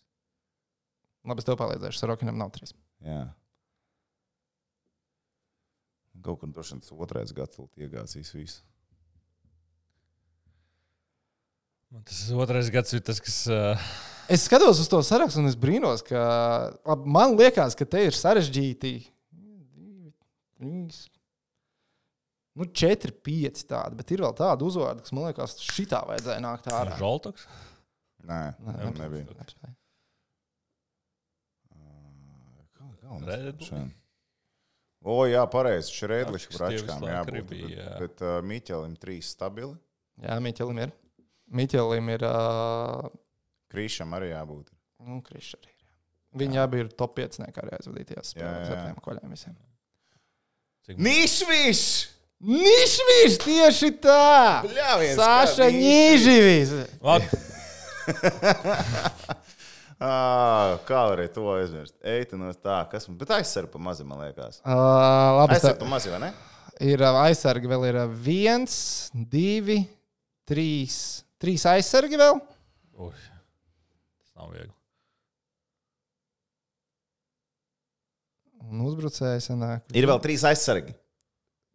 S1: Labi, es tev palīdzēšu. Sorokinam nav trīs.
S2: Jā. Kaut kur droši vien tas otrais gads vēl iegāzīs visu.
S3: man tas otrais gads ir tas, kas. Uh,
S1: Es skatos uz to sarakstu un es brīnos, ka labi, man liekas, ka te ir sarežģīti. Nu, 4, 5 tādi, bet ir vēl tāda uzvārda, kas man liekas, šitā vajadzēja nākt ārā.
S3: Žoltoks.
S2: Nē,
S1: Nē,
S2: tam nebija.
S1: Neapspēj.
S2: Kā- kā mums
S3: Red Bull?
S2: šodien? O, jā, pareizi. Šrēdlis
S3: Jā, kas tie
S2: bračkām
S3: visu laiku
S2: jābūt.
S3: arī bija, jā.
S2: Bet, bet uh, Mīķelim trīs stabili.
S1: Jā, Miķelim ir. Miķelim ir. Uh,
S2: Krīšam arī jābūt.
S1: nu, Krišs arī ir. Viņi abi ir top 5 nekā arī aizvadīties
S2: jā,
S1: spēlēs
S2: jā.
S1: ar tiem koļiem visiem.
S2: Nīšvīs!
S1: Nišvīrs tieši tā!
S2: Jā, viens.
S1: Sāša Nīžvīrs!
S3: Labi,
S2: Ā, Kā varēja to aizmirst? Eitinos tā, kas man. Bet aizsver pa mazi, man liekas.
S1: Uh, labi, tā,
S2: Aizsver pa mazi, vai ne?
S1: ir uh, aizsargi vēl ir uh, viens, divi, trīs. Trīs aizsargi vēl.
S3: Ui, tas nav viegli.
S1: Un uzbrucēji sanāk.
S2: Ir vēl trīs aizsargi.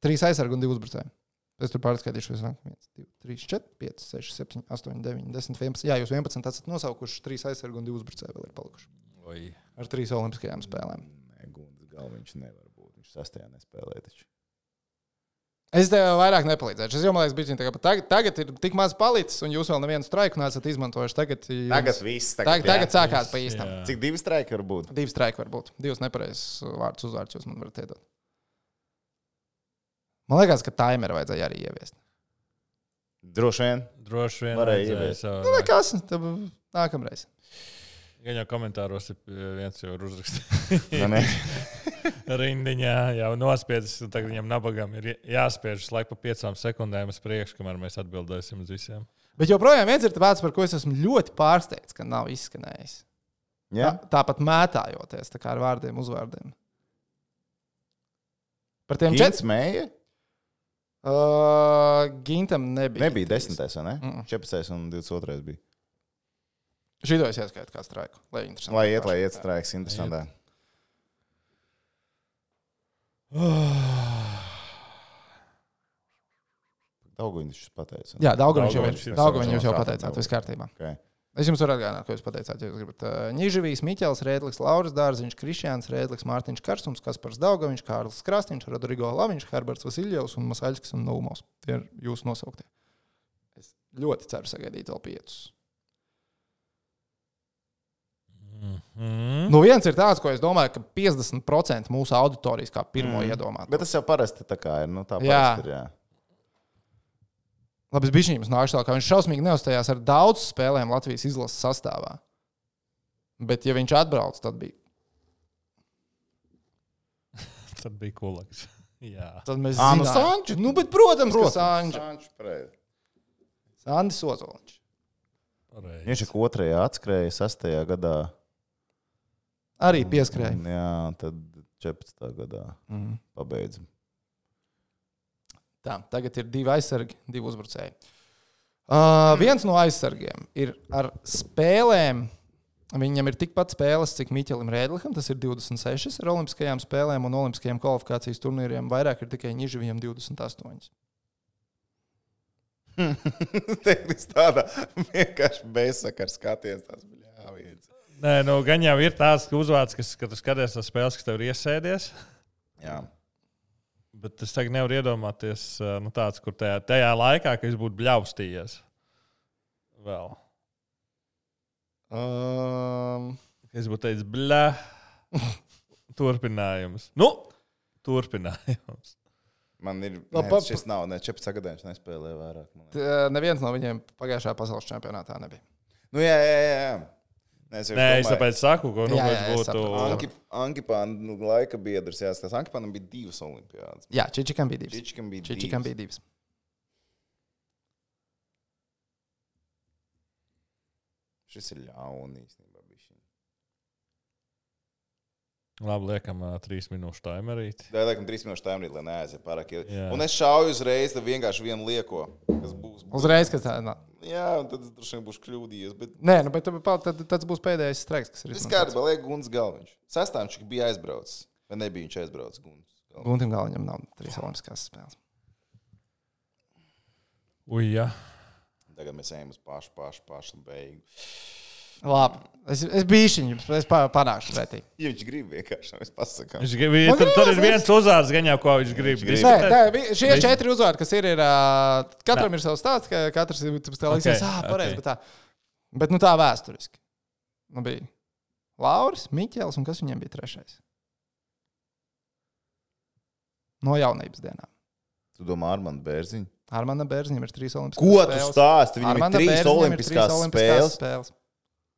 S1: Trīs aizsargi un divi uzbrucēji. Es tur pārskaitīšu, kas nāk. 1, 2, 3, 4, 5, 6, 7, 8, 9, 10, 11. Jā, jūs 11 esat nosaukuši. Trīs aizsargi un divi uzbrucēji vēl ir palikuši.
S3: Ui.
S1: Ar trīs olimpiskajām spēlēm.
S2: Nē, Gundas galviņš nevar būt. Viņš sastajā nespēlē taču.
S1: Es tev vairāk nepalīdzēšu. Es jau domāju, ka tagad, tagad ir tik maz palicis, un jūs vēl nevienu straiku nesat izmantojuši. Tagad, jums...
S2: Tagad viss.
S1: tagad,
S2: jā.
S1: tagad sākās pa īstam.
S3: Jā.
S2: Cik divi streiki var būt?
S1: Divi streiki var būt. Divas nepareizas vārdus uzvārds jūs man varat iedot. Man liekas, ka taimeru vajadzēja arī ieviest.
S2: Droši vien.
S3: Droši vien
S2: Varēja ieviest.
S1: Nu,
S3: ievērst.
S1: nekas, tad nākamreiz.
S3: Gan jau komentāros ir eh, viens jau ir
S2: vai
S3: uzrakstījis.
S2: ne?
S3: Rindiņā jau nospiedis, un tagad viņam nabagam ir jāspiež uz laiku pa piecām sekundēm uz priekšu, kamēr mēs atbildēsim uz visiem.
S1: Bet joprojām viens ir vārds, par ko es esmu ļoti pārsteigts, ka nav izskanējis.
S2: Jā.
S1: Tā- Tāpat mētājoties tā kā ar vārdiem, uzvārdiem. Par tiem četriem.
S2: Četri smēja.
S1: Uh, Gintam nebija.
S2: Nebija desmitais, vai ne?
S1: Mm.
S2: 14. un 22. bija.
S1: Šito es ieskaitu kā straiku. Lai, interesanti
S2: Lai iet, lai iet
S1: vienkārši.
S2: strāks, interesantā. Dauguņš pateica.
S1: Jā, Daugaviņš jau
S3: Daugaviņš
S1: ir.
S3: ir.
S1: Daugaviņš jūs jau
S2: Daugaviņš.
S1: pateicāt, viss kārtībā.
S2: Okay.
S1: Es jums varu atgādināt, ko jūs pateicāt. Ja jūs gribat Nīžavijas, Miķels, Rēdlis, Lauris Dārziņš, Krišjāns, Rēdlis, Mārtiņš Karstums, Kaspars Daugaviņš, Kārlis Krāsniņš, Rodrigo Laviņš, Herberts Vasiljovs un Masaļskis un Nūmos. Tie ir jūsu nosauktie. Es ļoti ceru sagaidīt vēl piecus.
S3: Mm. Mhm.
S1: Nu, viens ir tāds, ko es domāju, ka 50% mūsu auditorijas kā pirmo
S2: Mm.
S1: mm. iedomājas.
S2: Bet tas jau parasti tā kā ir. Nu, tā
S1: Jā.
S2: parasti ir. Jā.
S1: Labi, bija viņam nāks tālāk, ka viņš šausmīgi neuzstājās ar daudz spēlēm Latvijas izlases sastāvā. Bet, ja viņš atbrauc, tad bija.
S3: Tad bija kulaks. Jā.
S1: Tad mēs
S2: Ā, nu,
S1: zinājām.
S2: Sanču.
S1: nu, bet, protams, protams.
S2: Protams,
S1: ka Sanča.
S2: Sanču pareizi.
S1: Andis Ozoliņš.
S3: Pareizi.
S2: Viņš ir otrajā atskrēja, sastajā gadā.
S1: Arī pieskrēja.
S2: Un, Jā, un tad 14. gadā
S1: Mm.
S2: pabeidz.
S1: Tā, tagad ir divi aizsargi, divi uzbrucēji. Uh, viens no aizsargiem ir ar spēlēm. Viņam ir tikpat spēles, cik Miķelim Rēdlikam. Tas ir 26 ar Olimpiskajām spēlēm un Olimpiskajiem kvalifikācijas turnīriem. Vairāk ir tikai Nižavijam 28.
S2: Tehniski tāda vienkārši bezsakars skaties. Tas bija jāviens.
S3: Nē, nu, gan jau ir tāds ka uzvārds, kas, kad tu skaties uz spēles, kas tev ir iesēdies.
S2: Jā.
S3: Bet es tagad nevaru iedomāties, eh, nu, tāds, kur tajā, tajā laikā, kad es būtu bļaustījies. vēl.
S2: Um,
S3: Es būtu teicis, blē, turpinājums. Nu, turpinājums.
S2: man ir.
S1: No,
S2: Nē,
S1: pa-
S2: šis nav, ne 14 gadiem nespēlēju vairāk. man liekas.
S1: Tā, eh, Neviens no viņiem pagājušajā pasaules čempionātā nebija.
S2: Nu, jā, jā, jā. jā. Nē, es,
S3: Nē, es tāpēc saku, ko nu
S1: Jā, jā, es
S3: pēc būtu.
S1: saprotu.
S2: Ankipāna nu, laika biedrs, jā, tas Ankipānam bija divas olimpiādas.
S1: Jā, Čičikam bija divas.
S2: Čičikam bija
S1: Čičikam
S2: divas.
S1: bija divas.
S2: Šis ir ļauni īstenībā. bišķiņ.
S3: Labi, liekam, ā, trīs minūšu taimerīt.
S2: Tā ir laikam trīs minūšu tā brīdī, lai neaiziet pārāk ilgi.
S3: Jā.
S2: Un es šauju uzreiz, tad vienkārši vienu lieko, kas būs.
S1: Uzreiz, kad tā nav.
S2: Jā, un tad es droši vien būšu kļūdījies. Bet
S1: Nē, nu, bet tu- pa- tad, tas būs pēdējais strēks, kas ir
S2: viss
S1: izmantots.
S2: kārtībā, liek Guns Galviņš. Sastāvčik bija aizbraucis. Vai nebija viņš aizbraucis Guns? Galviņš?
S1: Gunam Galaņam nav trīs olimpiskās spēles.
S3: Ui, jā.
S2: Tagad mēs ejam uz pašu, pašu, pašu beigu.
S1: Labi, es, es biju jums, es pa- panākšu pretī.
S2: Ja viņš grib vienkārši, mēs pasakām.
S3: Viņš grib, tur, tur ir viens uzvārds, gan jau ko viņš grib.
S2: Viņš grib.
S1: Nē,
S3: Diskutēt?
S1: tā, vi- šie četri uzvārdi, kas ir, ir ā, katram ir savs stāsts, ka katrs ir tas
S3: Okay,
S1: līdzīgs. Jā, pareizi,
S3: okay.
S1: bet tā. Bet nu tā vēsturiski. Nu bija Lauris, Miķels un kas viņiem bija trešais? No jaunības dienām.
S2: Tu domā, ar mani bērziņu?
S1: Ar mani bērniem ir trīs olimpiskās
S2: Ko tu
S1: spēles.
S2: stāsti? Viņam ir
S1: Armanda
S2: trīs
S1: Bērziņam ir
S2: olimpiskās spēles.
S1: spēles.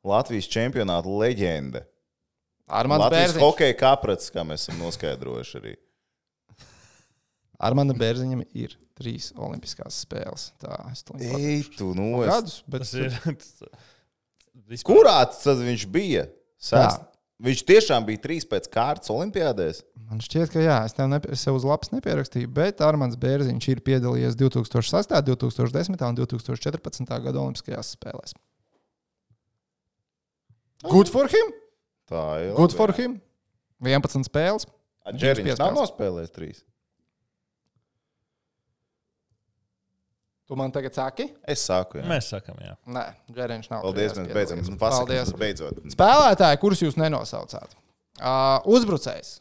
S2: Latvijas čempionāta leģenda.
S1: Ar mani
S2: Latvijas
S1: bērniem
S2: hokeja kaprats, kā mēs esam noskaidrojuši arī.
S1: Ar mani bērniņam ir trīs olimpiskās spēles. Tā, es to
S2: Ei,
S1: nesaprotu.
S2: tu no es.
S1: Gadus, bet
S3: Tas ir.
S2: Kurā tad viņš bija? Sest...
S1: Tā.
S2: Viņš tiešām bija trīs pēc kārtas olimpiādēs.
S1: man šķiet, ka jā, es tev, nepie, es tev uz lapas nepierakstīju, bet Armāns Bērziņš ir piedalījies 2008, 2010 un 2014 gada Olimpiskajās spēlēs. Good for him!
S2: Tā ir.
S1: Good for him! 11 spēles.
S2: Džeriņš nav
S1: piespēles.
S2: nospēlējis trīs.
S1: Tu man tagad saki?
S2: Es sāku. Jā.
S3: Mēs sakām, jā.
S1: Nē, Džērēns nav.
S2: Paldies,
S1: trijās
S2: mēs beidzam.
S1: piedalījies.
S2: Pasakās,
S1: Paldies.
S2: beidzot.
S1: Spēlētāji, kurus jūs nenosaucāt. Uh, uzbrucējs,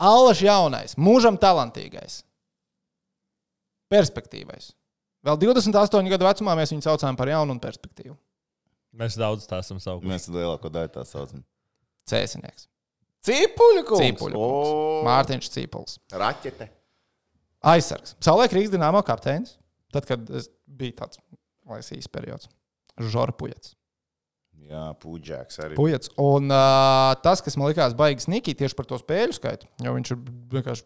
S1: Allaš jaunais, mūžam talantīgais, perspektīvais. Vēl 28 gadu vecumā mēs viņu saucām par jaunu un perspektīvu.
S3: Mēs daudz stāstām savu.
S2: Mēs lielāko daļu tā saucam.
S1: Cēsinieks,
S2: Cipuļkungs.
S1: Cīpuļs, Mārtiņš Cīpuls,
S2: Raķete.
S1: aizsargs. Savulaik Rīgas dīnāmo kapteinis, tad, kad es biju tāds laisīs periods. Žorpujets.
S2: Jā, pūģēks arī.
S1: Pujets. Un uh, tas, kas man likās baigs Nikī tieši par to spēļu skaitu, jo viņš ir vienkārši.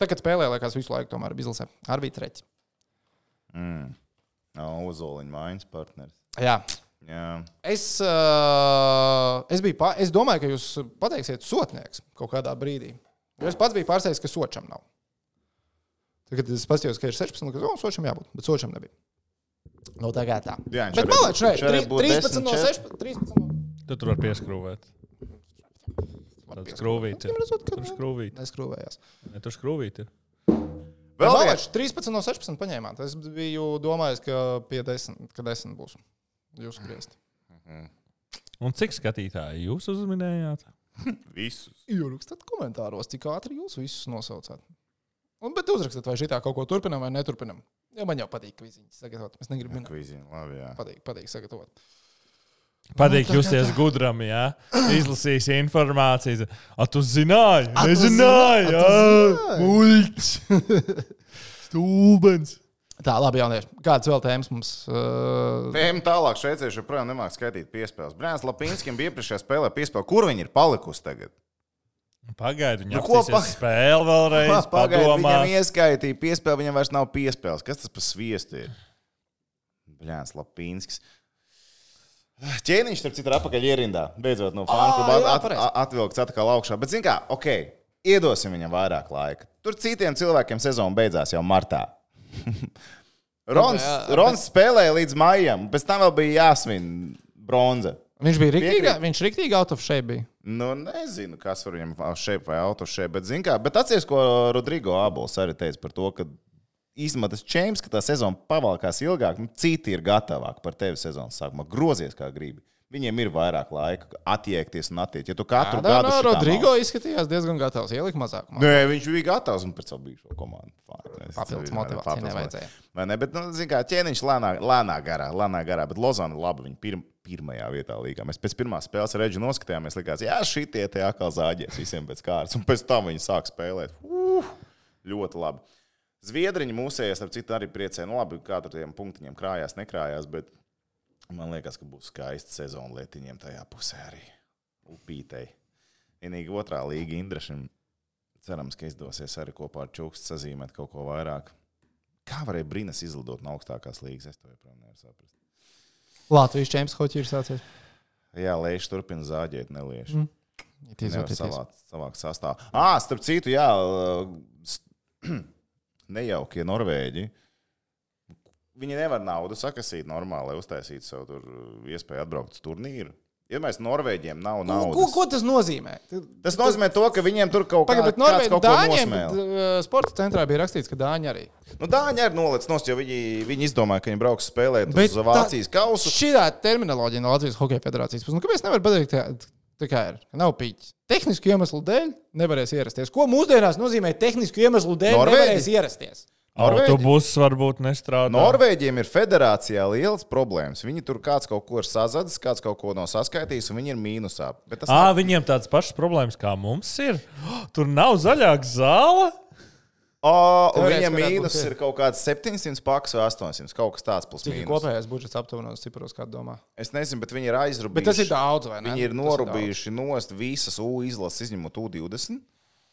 S1: Tagad spēlē, liekas, visu laiku tomēr bija izlasē. Arī bija treķis.
S2: Mm. Nav uzoliņa mājas partneris.
S1: Jā.
S2: Jā.
S1: Es, uh, es, biju, pa- es domāju, ka jūs pateiksiet sotnieks kaut kādā brīdī. Jo es pats biju pārsteigts, ka sočam nav. Tagad es paskatījos, ka ir 16, ka oh, sočam jābūt, bet sočam nebija. No tā kā tā.
S2: Jā, viņš
S1: bet
S2: arī
S1: malāč, nē,
S2: būtu- viņš arī
S1: tri-
S2: būtu
S1: 13 no
S2: 10,
S1: 16. 13 no...
S3: Tu tur var pieskrūvēt. Tāds skrūvīts ir.
S1: Redzot,
S3: Tur
S1: ka
S3: skrūvīt.
S1: neskrūvējās.
S3: Ne, tur skrūvīt ir.
S2: Vēl
S1: Vēl
S2: viens.
S1: viens. 13 no 16 paņēmāt. Es biju domājis, ka pie 10, ka 10 būs. Jūs griezt.
S3: Un cik skatītāji jūs uzminējāt?
S2: Visus.
S1: Ierakstiet komentāros, cik ātri jūs visus nosaucāt. Un, bet uzrakstiet, vai šī tā kaut ko turpinām vai neturpinām. Jo man jau patīk, ka viņi sagatavot. Mēs negribam minēt.
S2: Kviziņ, labi, jā.
S1: Patīk, patīk sagatavot.
S3: Patīk
S1: tā kā
S3: justies gudram, ja izlasīs informāciju. A, tu zināji,
S1: tu
S3: nezināji,
S1: zināji,
S3: jā,
S1: a, tu
S3: muļķis, stulbens.
S1: Tā, labi, jaunieši. Kādas vēl tēmas mums? Uh,
S2: Tēma tālāk, šveicieši joprojām nemāķi skaitīt piespēles. Brāns Lapīnskim bija iepriekšējā spēlē piespēle. Kur viņi ir palikusi tagad?
S3: Pagaidu,
S2: Nu,
S3: viņa
S2: ko
S3: apstāsies
S2: pa-
S3: spēle vēlreiz,
S2: Pagaidā, viņam
S3: padomās.
S2: ieskaitīja piespēli, viņam vairs nav piespēles. Kas tas par sviestu ir? Brāns Lapīnskis. Ķēniņš, starp citu, ir apakaļ ierindā. Beidzot, no
S1: Ā,
S2: fanu
S1: jā,
S2: kluba at,
S1: pareizi.
S2: at, atvilkts atkal augšā. Bet, zin kā, ok, iedosim viņam vairāk laika. Tur citiem cilvēkiem sezona beidzās jau martā. Rons,
S1: Jā, jā,
S2: Rons spēlēja līdz maijam, pēc tam vēl bija jāsvin bronza.
S1: uh, viņš bija rīktīgi,
S2: Piekrīt.
S1: viņš rīktīgi out of shape bija.
S2: Nu, nezinu, kas var viņam šeit vai auto šeit, bet zinu, kā. Bet atceries, ko Rodrigo Abols arī teica par to, ka īstenībā tas čēms, ka tā sezona pavalkās ilgāk, nu, citi ir gatavāki par tevi sezonas sākumā. Grozies kā gribi. Viņiem ir vairāk laika attiekties un attiekties. Ja tu katru
S1: Kādā
S2: gadu
S1: no
S2: šitā
S1: Rodrigo izskatījās diezgan gatavs ielikt mazākumā.
S2: Nē, Nu, viņš bija gatavs un pēc tam bija šo komandu. Fine, es-
S1: Papildus
S2: es-
S1: motivācija
S2: papildus
S1: nevajadzēja.
S2: motivācija. Vai ne? Bet, nu, zin kā, ķēniņš lēnā, lēnā garā, lēnā garā, bet Lozana labi, viņa pirm, pirmajā vietā līgā. Mēs pēc pirmās spēles reģi noskatījāmies, likās, jā, šitie te atkal zāģēs visiem pēc kārtas, un pēc tam viņi sāk spēlēt. Uh, ļoti labi. Zviedriņi mūsējās, ap citu arī priecē, nu labi, katru tiem punktiņiem krājās, nekrājās, bet man liekas, ka būs skaista sezona lietiņiem tajā pusē arī. Upītei. Vienīgi otrā līga Indrašam Cerams, ka izdosies arī kopā ar Čukstu sazīmēt kaut ko vairāk. Kā varēja brīnās izlidot no augstākās līnijas? Es to joprojām nevaru saprast.
S1: Latvijas čempions hoci ir sācies.
S2: Jā, lēš turpina zāģēt, nelieši.
S1: Mm.
S2: Mm.
S1: It is what it is.
S2: Savākt savāk sastāvā. Ah, starp citu, jā, uh, s- nejaukie norvēģi. Viņi nevar naudu sakasīt normāli, lai uztaisītu sev tur uh, iespēju atbraukt uz turnīru. Iedomājieties, Norvēģiem nav
S1: Nu, Ko,
S2: naudas.
S1: ko tas nozīmē?
S2: Tas nozīmē to, ka viņiem tur kaut
S1: Pagaidiet,
S2: kāda
S1: bet Norvēģi, Dāņiem
S2: nosmēla.
S1: eh, sporta centrā bija rakstīts, ka Dāņi arī.
S2: Nu, Dāņi arī noliec nost, jo viņi, viņi izdomāja, ka viņi brauks spēlēt
S1: Bet
S2: uz Vācijas
S1: tā-
S2: kausu.
S1: Šī ir terminoloģija no Latvijas Hokeja Federācijas puses. Nu, Kāpēc nevar pateikt, tā, tā kā ir? Nav pīķis. Tehnisku iemeslu dēļ nevarēs ierasties. Ko mūsdienās nozīmē tehnisku iemeslu dēļ?
S2: Norvēģi?
S1: Nevarēs ierasties.
S2: Norvēģi.
S3: Autobuss varbūt nestrādā.
S2: Norvēģiem ir federācijā liels problēmas. Viņi tur kāds kaut ko ir sazadzis, kāds kaut ko nav saskaitījis, un viņi ir mīnusā. Bet tas
S3: À, viņiem tādas pašas problēmas kā mums ir. Tur nav zaļāka zāle.
S2: oh,
S1: Teorētiski varētu
S2: viņam
S1: būt,
S2: mīnus
S1: jā.
S2: ir kaut kāds 700 paks vai 800, kaut kas tāds plus
S1: Cik ir
S2: mīnus.
S1: kopējais budžets aptuvenos ciparos, kā domā?
S2: Es nezinu, bet viņi ir aizrubījuši.
S1: Bet tas ir daudz, vai ne?
S2: Viņi ir
S1: Tas
S2: norūpējuši nost visas U izlases, izņemot U20.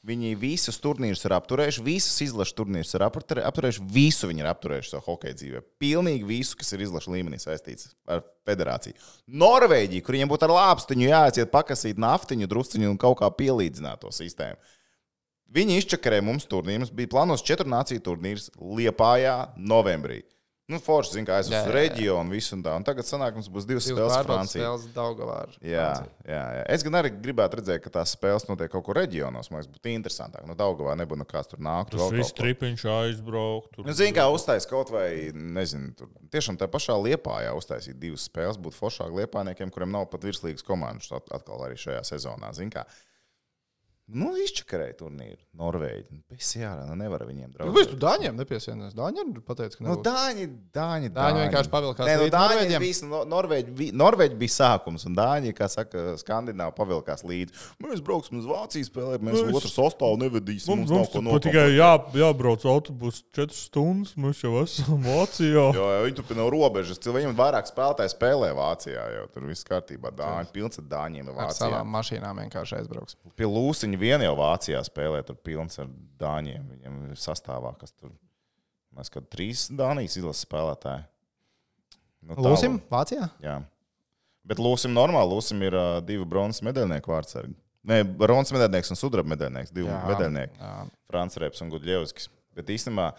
S2: Viņi visus turnīrus ir apturējuši, visas izlases turnīrus ir apturē- apturējuši, visu viņi ir apturējuši savā hokeja dzīvē. Pilnīgi visu, kas ir izlases līmenī saistīts ar federāciju. Norvēģija, kur viņiem būtu ar lāpstiņu jāaiziet pakasīt naftiņu, drusciņu un kaut kā pielīdzināt to sistēmu. Viņi izčakarēja mums turnīrus, bija plānots četru nāciju turnīrs Liepājā novembrī. Nu, Forši, zina, kā
S1: Jā, jā,
S2: aizjūtas uz
S1: jā.
S2: reģionu, visu un tā. Un tagad sanāk, mums būs divas
S1: Divas
S2: spēles
S1: pārbaudas
S2: Francijā.
S1: spēles Daugavā ar Franciju.
S2: Jā, jā, jā. Es gan arī gribētu redzēt, ka tās spēles notiek kaut kur reģionos. Man liekas, būtu interesantāk. Nu, Daugavā nebūtu nekāds tur nākt.
S3: Tas viss tripiņš aizbraukt.
S2: Nu, Ziniet, kā uztaisīt kaut vai, nezinu, tur tiešām tā pašā liepā, ja uztaisīt divas spēles, būtu foršāk liepainiekiem, kuriem nav pat virslīgas komandas at- atkal arī šajā sezonā. Ziniet, kā. Nu, izčakarēja turnīru. Norvēģi. Nu, Pēc jārā, nu nevar viņiem
S1: Nu,
S2: draudēt.
S1: Kāpēc tu Dāņiem nepiesienies? Dāņiem pateica, ka
S2: Nu,
S1: nebūs.
S2: Dāņi, Dāņi,
S1: Dāņi vienkārši pavilkās
S2: Nē, nu,
S1: līdzi
S2: Dāņi
S1: norvēģiem.
S2: bija, no, Norvēģi, bija, Norvēģi bija sākums, un Dāņi, kā saka, Skandināvi pavilkās līdzi. Mēs brauksim uz Vācijas spēlēt, mēs
S3: Mēs-
S2: otru sastāvu nevedīsim.
S3: Mums,
S2: Mums, nav
S3: mums tur
S2: ko
S3: tikai
S2: tikai...
S3: jā, jābrauc autobusu 4 stundas. Mēs jau esam Vācijā.
S2: Jo, jo viņi turpina robežas. cil- Viņam vairāk spēlētāji spēlē Vācijā. Jau, tur viss kārtībā. Dāņi, pilns ar dāņiem. ir
S1: Ar
S2: Vācijā.
S1: savām mašīnām vienkārši aizbrauks.
S2: Pie Lūsiņa vien jau Vācijā spēlē. Tur pilns ar dāņiem. Viņam ir sastāvā, kas tur. Mēs kā trīs Dānijas izlases spēlētāji. Nu, tālu.
S1: Lūsim, Vācijā?
S2: Jā. Bet Lūsim normāli, Lūsim ir uh, divi bronzas medaļnieki vārdsargi. Nē, bronzas medaļnieks un sudraba medaļnieks, divi
S1: Jā.
S2: medaļnieki.
S1: Jā.
S2: Frančs Reps un Gudļevskis. Bet īstenībā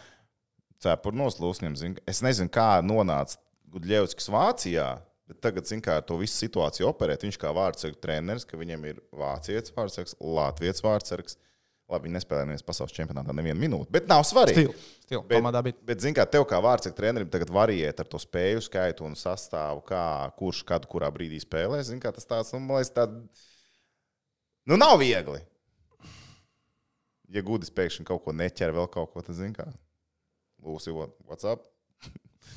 S2: cepurnos Lūsim, zin, es nezinu, kā nonāca Gudļevskis Vācijā. Bet tagad, zinām, kā ar to visu situāciju operēt. Viņš kā vārdsargs treneris, ka viņam ir vācietis vārdsargs, latviešu vārdsargs. Labi, viņi nespēlēja nevienu pasaules čempionātā nevienu minūti, bet nav svarīgi.
S1: Stil, stil.
S2: Bet-
S1: Komandā bija.
S2: Bet, zināmā mērā, tev kā vārdsaktas trenerim tagad var iet ar to spēju skaitu un sastāvu, kā, kurš kad, kurā brīdī spēlēs. Zini, kā tas tāds, nu, man liekas, tāds, nu, nav viegli. Ja gudrs pēkšņi kaut ko neķer, vēl kaut ko, tad zini, kā. Lūsija, what's up?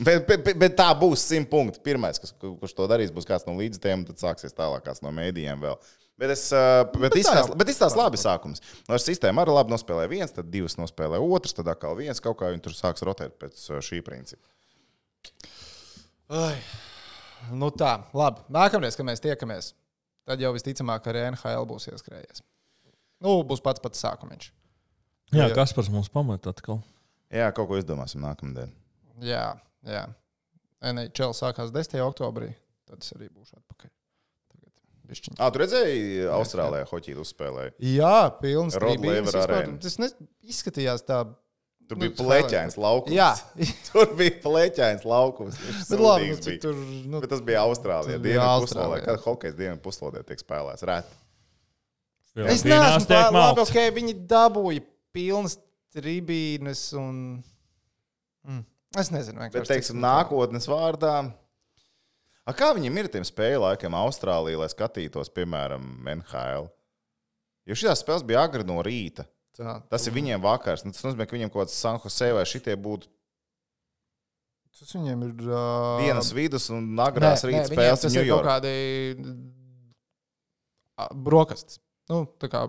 S2: Bet, bet, bet- bet tā būs simt punkti. Pirmais, kas, ku- kurš to darīs, būs kāds no līdzstrādājiem, tad sāksies tālākās no mēdījiem vēl. Bet es uh, bet
S1: Nu, tā
S2: izskatās,
S1: jau-
S2: bet izskatās labi sākums. No ar sistēmu arī labi nospēlē viens, tad divas nospēlē otrs, tad atkal viens kaut kā viņi tur sāks rotēt pēc uh, šī principa.
S1: Ai. Nu tā, labi. Nākamreiz, kad mēs tiekamies, tad jau visticamāk arī NHL būs ieskrējies. Nu, būs pats pats sākums.
S3: Jā, kas par mums pamet atkal?
S2: Jā, kaut ko izdomāsim nākamdien.
S1: Jā, jā. NHL sākās 10. oktobrī. Tad es arī būšu atpakaļ. Tagad bišķiņ.
S2: Ah, tu redzēji, Austrālijā hoķīdu uzspēlēja.
S1: Jā, pilns
S2: Rod
S1: tribīnes.
S2: Laver
S1: vispār.
S2: arēna.
S1: Tas ne, izskatījās tā.
S2: Tur
S1: Nu,
S2: bija plēķains laukums.
S1: Jā,
S2: Tur bija plēķains laukums. Viņš
S1: bet labi.
S2: sūdīgs
S1: Nu,
S2: bija.
S1: cik tur, nu,
S2: Bet tas bija
S1: Tas
S2: Austrālijā.
S1: bija
S2: Dienā puslodē,
S1: Austrālijā.
S2: kad hokeja dienā puslodē tiek spēlēts. Rēt.
S1: es
S3: Filipīnās
S1: neesmu
S3: tiek
S1: pārāk labi.
S3: malts.
S1: Okay, viņi dabūja pilnas tribīnes un. Mm. Es nezinu,
S2: Bet,
S1: vienkārši.
S2: teiksim, nākotnes vārdā. A, A kā viņam ir tiem spēļu laikiem Austrālijā, lai skatītos, piemēram, NHL? Jo šīs spēles bija agri no rīta.
S1: Tā.
S2: Tas ir viņiem vakars. Nu, tas nozīmē, ka viņiem kaut kāds San Jose vai šitie būtu
S4: Tas viņiem ir. Uh,
S2: dienas vidus un agrās rīta
S1: Um, viņiem
S2: spēles
S1: tas ir kaut
S2: Ņujorkā.
S1: kādi ā, brokastis. Nu, tā kā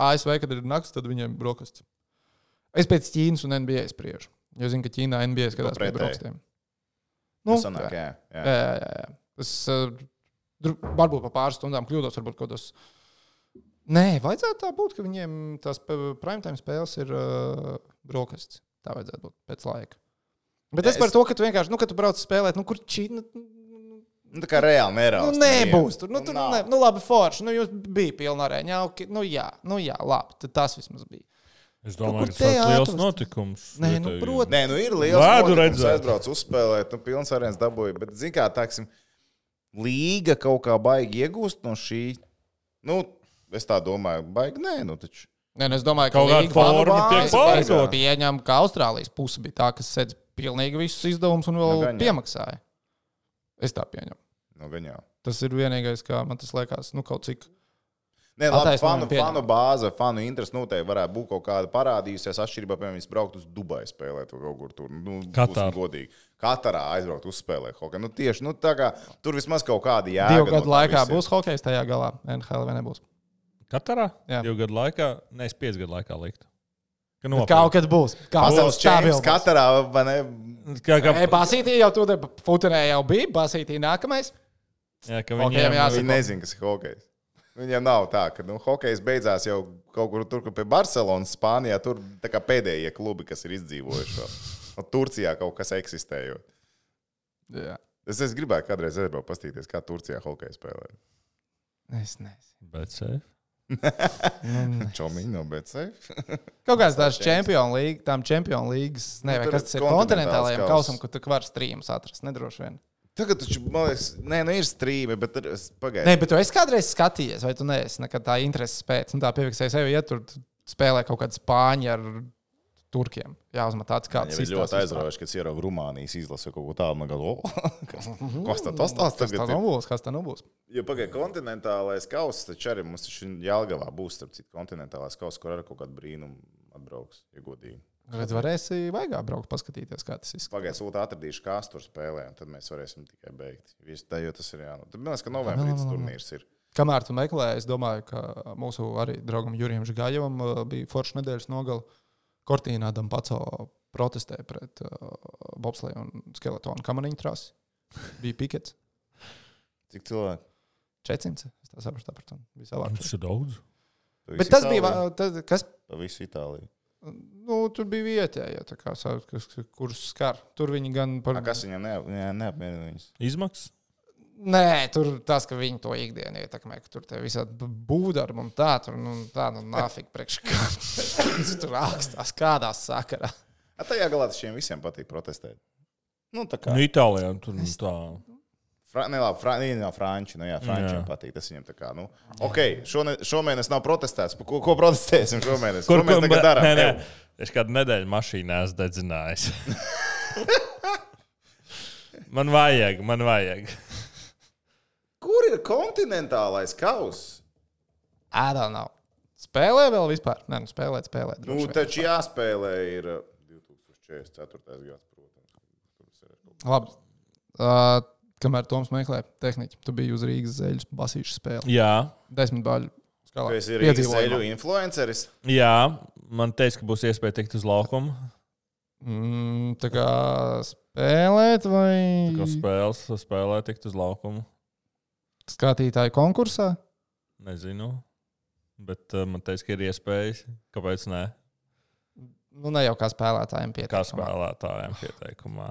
S1: ASV, kad ir naktis, tad viņiem ir brokastis. Es pēc Ķīnas un NBA spriežu. Jo zinu, ka Ķīnā NBA skatās pēc
S2: pretēji.
S1: brokastiem.
S2: Nu, sanāk, jā, jā.
S1: jā, jā, jā. Es uh, dru- varbūt pa pāris stundām kļūdos, varbūt kaut kas. Nē, vajadzētu tā būt, ka viņiem tās p- primetime spēles ir uh, brokastis. Tā vajadzētu būt pēc laika. Bet
S2: Jā,
S1: es, es par
S2: es-
S1: to, ka tu vienkārši, nu, kad tu brauc spēlēt, nu, kur čīna.
S2: Nu, tā kā reāli
S1: Nu,
S2: neraugs.
S1: nebūs tur. Nu,
S2: Nu,
S1: tur
S2: nav.
S1: ne, nu, labi, forši. Nu, jūs bijat pilnā arēņā. Okay, nu, jā, nu, jā, labi. Tad tas vismaz bija.
S3: Es
S1: kur
S3: domāju, ka tas
S1: te
S3: ir liels
S1: atrast?
S3: notikums.
S1: Nē, nu,
S3: vietējiem.
S1: protams.
S2: Nē, nu ir liels
S3: Vārdu
S2: notikums,
S3: redzēt.
S2: aizbrauc uzspēlēt, nu, pilns arēns dabūja. Bet, zin kā, tāksim, līga kaut kā baigi iegūst no šī. Nu, es tā domāju, baigi nē, nu taču.
S1: Nē, nu, es domāju, ka
S3: Kaut kāda
S1: līga
S3: forma
S1: vanu-
S3: tiek
S1: es- es
S2: pārdota.
S1: Pieņēmu, ka Austrālijas puse bija tā, kas sēdz pilnīgi visus izdevumus un vēl
S2: Nu, gan jau.
S1: piemaksāja. Es tā pieņemu.
S2: Nu, gan jau.
S1: Tas ir vienīgais, kā man tas liekas, nu, kaut cik.
S2: Nē, labi,
S1: Attaisnojumi
S2: fanu,
S1: pieņem.
S2: fanu bāze, fanu interesi noteikti varētu būt kaut kāda parādījusies. Atšķirībā, piemēram, viņas braukt uz Dubaju spēlēt vai kaut kur tur. Nu,
S3: Katāru.
S2: būsim godīgi. Katrā aizbraukt uz spēlēt kaut kā. Nu, tieši nu, tā kā tur vismaz kaut kāda jēga.
S1: Divu
S2: no
S1: gadu
S2: tā
S1: laikā
S2: visa ir.
S1: būs hockey tajā galā. NHL vai nebūs.
S3: Katarā?
S1: Jā.
S3: Divu gadu laikā, ne, es piecu gadu laikā liktu. Ka
S1: Bet
S3: nopietni.
S1: Kaut kad būs. Kaut kad
S2: Pasaules čempions
S1: būs.
S2: katrā vai ne?
S3: Kā, kā,
S1: Ei, Basītī jau tur bija. Futunē jau bija. Basītī nākamais.
S3: jā, ka
S1: Okei,
S3: viņiem
S1: jā,
S2: Viņi nezina, kas ir hokejs. Viņam nav tā, ka nu, hokejs beidzās jau kaut kur tur, kur pie Barcelonas, Spānijā. Tur tā kā pēdējie klubi, kas ir izdzīvojuši. vēl. Nu, Turcijā kaut kas eksistējot.
S1: Jā.
S2: Es, es gribēju kādreiz aizbraukt, paskatīties, kā Turcijā hokeja spēlē.
S1: Es nezinu.
S3: Bet, eh,
S2: Čomino, bet safe.
S1: Kaut kāds tāds čempionu līnijas, tām čempionu līnijas, nezinu,
S2: Nu, tur
S1: kas
S2: ir
S1: tas ir
S2: kontinentāls
S1: kontinentālajiem kausam,
S2: kausam.
S1: kur tu vari strīmus atrast. Nedroši vien.
S2: Tagad taču, man liekas, nē, nu ir strīme, bet tur- es
S1: Nē,
S2: pagaidu.
S1: bet tu esi kādreiz skatījies, vai tu neesi nekad tā intereses pēc, un tā piefiksēji sevi, ja tur spēlē kaut kāda spāņa ar turkiem. Jā, uzmet tāds kāds.
S2: Viņa bija ļoti aizraujoša, kad ierauga Rumānijas izlase kaut ko tādu. Man liekas, o, kas tas tas tāds
S1: Kas Mm-hmm. tā
S2: tagad ir?
S1: nu būs? Kas tā nu būs?
S2: Jo pagaidu, kontinentālais kausas taču arī mums taču Jālgavā būs, starp citu, kontinentālais kausas, kur arī kaut kādu brīnumu atbrauks, ja godīgi.
S1: Redz, varēsi vaigā braukt, paskatīties, kā tas izskatās.
S2: Pagaidu, sūta atradīšu, kas tur spēlē, un tad mēs varēsim tikai beigt. Viss tā, jo tas ir jānodrošina. Tad man liekas, ka novembrī tas turnīrs ir.
S1: Kamēr tu meklē, es domāju, ka mūsu arī draugam Jurijam Žigājam uh, bija forša nedēļas nogala. Kortīnā Adam Paco protestēja pret uh, bobsleju un skeletonu kamaniņu trasi. Bija pikets
S2: Cik cilvēku?
S1: 400. Es tā saprotu, tāpat visālāk.
S3: tas ir daudz.
S2: Pa visu
S1: Bet tas bija,
S2: Itāliju?
S1: va- tad, kas
S2: Pa visu Itāliju.
S1: nu, tur bija vietējais, ja, kā, sa- kas, kurus skar. Tur viņi gan par.
S2: A, Kas viņam neap- ne- neapmierina viņus?
S3: Izmaksas?
S1: Nē, tur tas, ka viņi to ikdienu ietekmē, ka tur ir visādi b- būdari un tā, tur nu, tā, nu, nāfīgi priekšā. tur rakstās kādā sakarā.
S2: A, tajā galā tas šiem visiem patīk protestēt. Nu, tā kā.
S3: Nu, Itālijā tur nu, tā.
S2: Fra, ne, labi, fra, ne, nav franči. Nu, jā, frančiem
S3: Jā.
S2: jā. patīk. Tas viņam tā kā. Nu, ok, šone, šomēnes nav protestēts. Pa Ko, ko protestēsim šomēnes? Ko mēs tagad darām?
S3: Nē, nē,
S2: Ev,
S3: es kādu nedēļu mašīnā esmu dedzinājis. man vajag, man vajag.
S2: Kur ir kontinentālais kaus?
S1: Ārā nav. Spēlē vēl vispār? Nē, nu spēlēt, spēlēt.
S2: Nu,
S1: droši vien.
S2: taču jāspēlē ir uh, 2044. gads, protams.
S1: Labi. Uh, kamēr Toms meklē tehniku, tu biji uz Rīgas zeļu basīšu spēli.
S3: Jā,
S1: Desmit baļu. skalā.
S2: Tu esi
S1: Piedzīvojumā.
S2: rīzēļu influenceris.
S3: jā, man teica, ka būs iespēja tikt uz laukumu.
S1: Mm, tā kā spēlēt
S3: Tā Kā
S1: vai
S3: spēles, spēlē tikt uz laukumu.
S1: skatītāju konkursā?
S3: Nezinu. Bet uh, man teica, ka ir iespējas. Kāpēc ne?
S1: Nu, ne jau kā spēlētājiem pietiek.
S3: Kā spēlētājiem pieteikumā.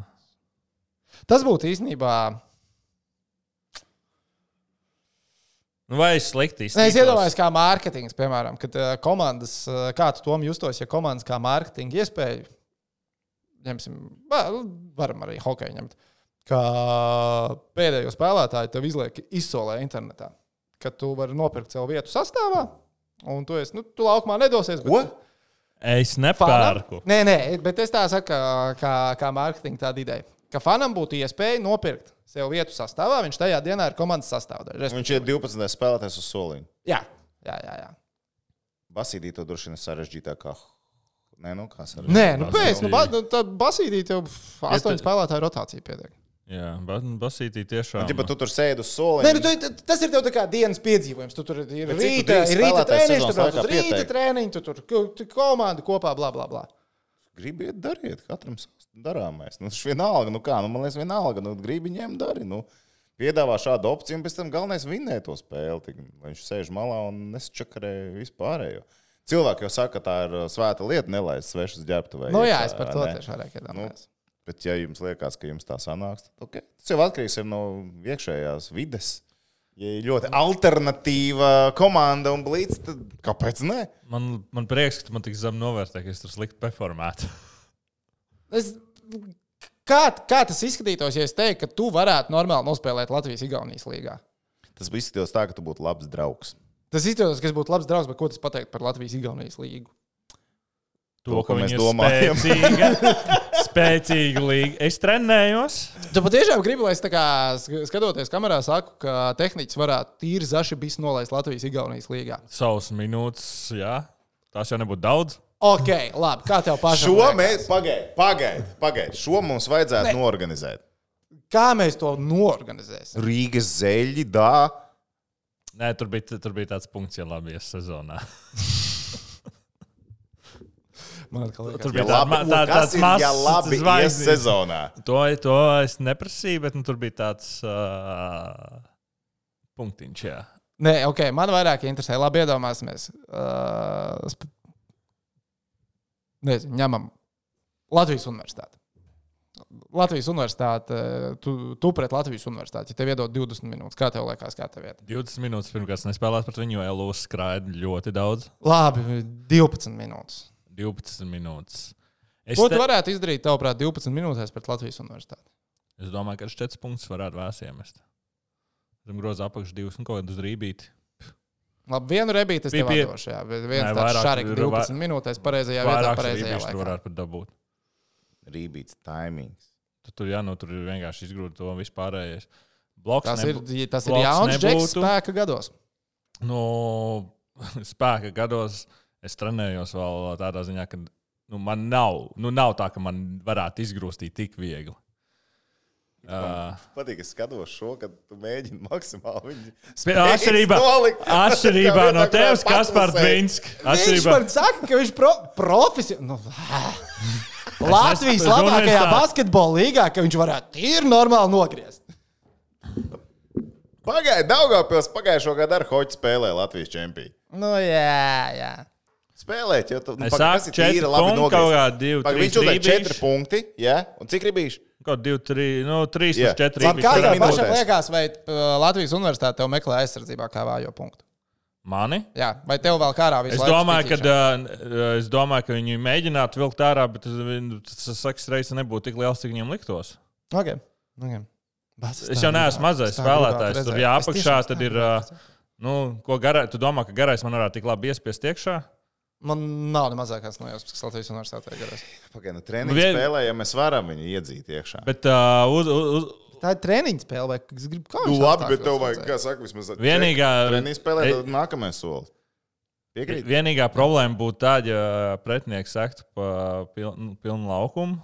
S1: Tas būtu īstenībā.
S3: Nu, vai es slikti
S1: Ne,
S3: izskatos?
S1: es iedomājos, kā mārketings, piemēram, kad uh, komandas, uh, kā tu tom justos, ja komandas kā mārketinga iespēja, ņemsim, va- nu, varam arī hokeju ņemt, ka pēdējo spēlētāju tev izliek izsolē internetā, ka tu vari nopirkt sev vietu sastāvā, un tu, esi, nu, tu laukumā nedosies. bet-
S2: Ko?
S3: es
S1: fanam.
S3: nepērku.
S1: Nē, nē, bet es tā saku, kā, kā, kā mārketinga tāda ideja. ka fanam būtu iespēja nopirkt sev vietu sastāvā. Viņš tajā dienā ir komandas sastāvdaļa.
S2: Viņš ir 12. spēlētājs uz soliņa.
S1: Jā, jā, jā. jā.
S2: Basīdī to droši vien ir sarežģītāk. kā- Nē, nu kā sarežģītāk.
S1: Nē, nu
S3: Basīdī.
S1: pēc tam nu, tā basīdī tev pf, astoņu
S3: tad-
S1: spēlētāju rotācija pietiek.
S3: Jā, ba- nu, basītī tiešām.
S2: Ja pat tu tur sēdi uz soliņa,
S1: Nē, nu, tu, tu- tas ir tev tā kā dienas piedzīvojums. Tu tur ir
S2: Bet cik
S1: rīta,
S2: tu drīz
S1: ir rīta
S2: spēlētājs
S1: treniņš,
S2: sezonas
S1: tu brauc uz
S2: laikā
S1: rīta
S2: pietiek?
S1: treniņu, tu tur tu- tu komanda kopā, bla, bla, bla.
S2: gribiet, dariet, katram savs darāmais. Nu, tas vienalga, nu kā, nu, man liekas, vienalga, nu, gribi ņemt, dari. Nu. Piedāvā šādu opciju, un pēc tam galvenais vinēt to spēli. Tik, lai viņš sēž malā un nesčakarē vispārējo. Cilvēki jau saka, ka tā ir uh, svēta lieta, nelaist svešas ģērbtuvēs.
S1: Nu, jā, es par to tieši vairāk iedomājos.
S2: Bet, ja jums liekas, ka jums tā sanāks, tad okay. tas jau atkarīgs ir no iekšējās vides. Ja ir ļoti alternatīva komanda un blīds, tad kāpēc ne?
S3: Man, man prieks, ka tu man tik zem novērtē, ka es tur slikti performētu.
S1: Es, kā, kā tas izskatītos, ja es teiktu, ka tu varētu normāli nospēlēt Latvijas-Igaunijas līgā?
S2: Tas bija izskatījās tā, ka tu būtu labs draugs.
S1: Tas izskatās, ka es būtu labs draugs, bet ko tas pateikt par Latvijas-Igaunijas līgu?
S3: To,
S2: To,
S3: to
S2: ko
S3: ka
S2: mēs
S3: viņi ir
S2: domājam.
S3: spēcīga, spēcīga līga. Es trenējos.
S1: Tu patiešām gribi, lai es tā kā sk- skatoties kamerā, saku, ka tehniķis varētu tīri zaši bijis nolaist Latvijas-Igaunijas līgā.
S3: Savas minūtes, jā. Tās jau nebūtu daudz.
S1: Ok, labi, kā tev pašam?
S2: Šo
S1: liekas?
S2: mēs pagaidām, pagaidām, pagaidām. Šo mums vajadzētu norganizēt.
S1: Kā mēs to norganizēsim?
S2: Rīgas zeļi, dā.
S3: Nē, tur bija, tur bija tāds punkts, ja labi ies sezonā.
S1: Man atkal liekas,
S3: Tur
S2: Ja
S3: bija
S2: labi, Nu,
S3: tāds tā, tā,
S2: kas ir, ja labi ies
S3: mazs.
S2: sezonā?
S3: To, to es neprasīju, bet nu, tur bija tāds uh, punktiņš. Jā.
S1: Nē, ok, man vairāk interesē. Labi, iedomāsimies. Uh, sp... Nezinu, ņemam Latvijas universitāti. Latvijas universitāte, eh, tu, tu pret Latvijas universitāti, ja tev iedod 20 minūtes, kā tev liekas, kā tev iet?
S3: 20 minūtes pirms kāds nespēlēs pret viņu, jo Elūze skraida ļoti daudz.
S1: Labi, 12 minūtes.
S3: 12 minūtes. Es,
S1: Ko tu
S3: te,
S1: varētu izdarīt, tavuprāt, 12 minūtēs pret Latvijas universitāti?
S3: es domāju, ka šis punkts varētu vēsties. Zem groza apakšā divas un kaut kādas rībītas.
S1: Labi, vienu rebīti es
S3: Bija
S1: tev
S3: pie-
S1: atdošu, jā, bet viens
S3: Nē,
S1: tāds
S3: vairāk
S1: šāriks
S3: ir-
S1: 12 minūtēs pareizajā vietā,
S3: Vairākas
S1: pareizajā
S3: rībītas tur
S1: laikā.
S3: varētu pat dabūt.
S2: Rībīts, taimings.
S3: Tad tur jānotur vienkārši izgrūda to vispārējais. Bloks
S1: Tas ir,
S3: nebū-
S1: tas ir
S3: bloks
S1: jauns džeks
S3: nebūtu.
S1: spēka gados.
S3: no nu, spēka gados es trenējos vēl tādā ziņā, ka nu, man nav, nu, nav tā, ka man varētu izgrūstīt tik viegli. Uh,
S2: Patīk, es skatos šo, kad tu mēģini maksimāli viņu.
S3: Pie- Atšķirībā,
S2: nolikt.
S3: atšķirībā
S2: Kā
S3: no
S2: vienmēr
S3: tevis,
S2: patlasē.
S3: kas par Dvinsk.
S1: Viņš
S3: Atšķirībā
S1: man saka, ka viņš pro, profesionāls. Nu, Latvijas
S3: Es nesaprotu,
S1: labākajā
S3: universitāti.
S1: basketbola līgā, ka viņš varētu tīri normāli nogriezt.
S2: Pagaidā, Daugopils pagājušo gadu ar hoci spēlēja Latvijas čempionu.
S1: Nu, jā, jā.
S2: Spēlēt, jo tu nu,
S3: Es saku, četri punkti, kaut kādi divi,
S2: Pag,
S3: trīs
S2: viņš uzliek
S3: rībīši.
S2: četri punkti, jā, un cik ribīši?
S3: kaut divi, trīs, nu, trīs
S2: Jā.
S3: yeah. četri.
S2: Labi,
S3: bija
S1: Kā
S2: Kurā
S1: tev
S3: četri.
S2: minūtē?
S1: pašam liekas, vai uh, Latvijas universitāte tev meklē aizsardzībā kā vājo punktu?
S3: Mani?
S1: Jā, vai tev vēl kā ārā
S3: Es
S1: vispār?
S3: domāju, ka, uh, es domāju, ka viņi mēģinātu vilkt ārā, bet tas, tas saks reizes nebūtu tik liels, cik viņiem liktos.
S1: Okay. Okay. Nu, Bas,
S3: Es jau neesmu mazais spēlētājs. Tur jā, apakšā tad ir. ā, Nu, ko garais, tu domā, ka garais man varētu tik labi iespiest iekšā?
S1: Man nav ne mazākās nojausmas, kas Latvijas universitātē garās.
S2: Pagaidā,
S3: Nu,
S2: treniņš
S3: vien-
S2: spēlē, ja mēs varam viņu iedzīt iekšā.
S3: Bet uh, uz, uz, uz,
S1: Tā ir treniņa spēle, vai kas grib kaut
S2: Nu, labi, bet tev vajag, kā saka, vismaz ar
S3: Vienīgā-
S2: četri Treniņš spēlē,
S3: Ei-
S2: tad nākamais solis. Piekrīt.
S3: vienīgā problēma būtu tāda, ja pretinieks sektu pa pil, nu, pilnu laukumu.